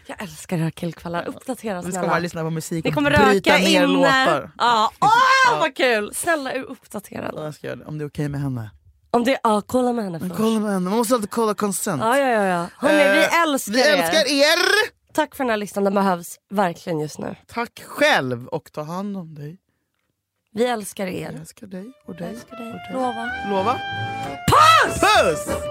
Jag älskar era killkvällar. Uppdatera Vi snälla. ska bara lyssna på musik Ni kommer och bryta röka ner inne. låtar. Ja. Åh, vad kul! Snälla uppdatera. Jag ska göra det, om det är okej med henne. Om det, ja, kolla med henne först. Kolla med henne, man måste alltid kolla consent. Ja, ja, ja. ja. Hörrni, Eh, vi älskar Vi er. älskar er! Tack för den här listan, den behövs verkligen just nu. Tack själv och ta hand om dig. Vi älskar er. Jag älskar dig och Jag dig. älskar dig. och dig. Lova. Lova. Puss! Puss!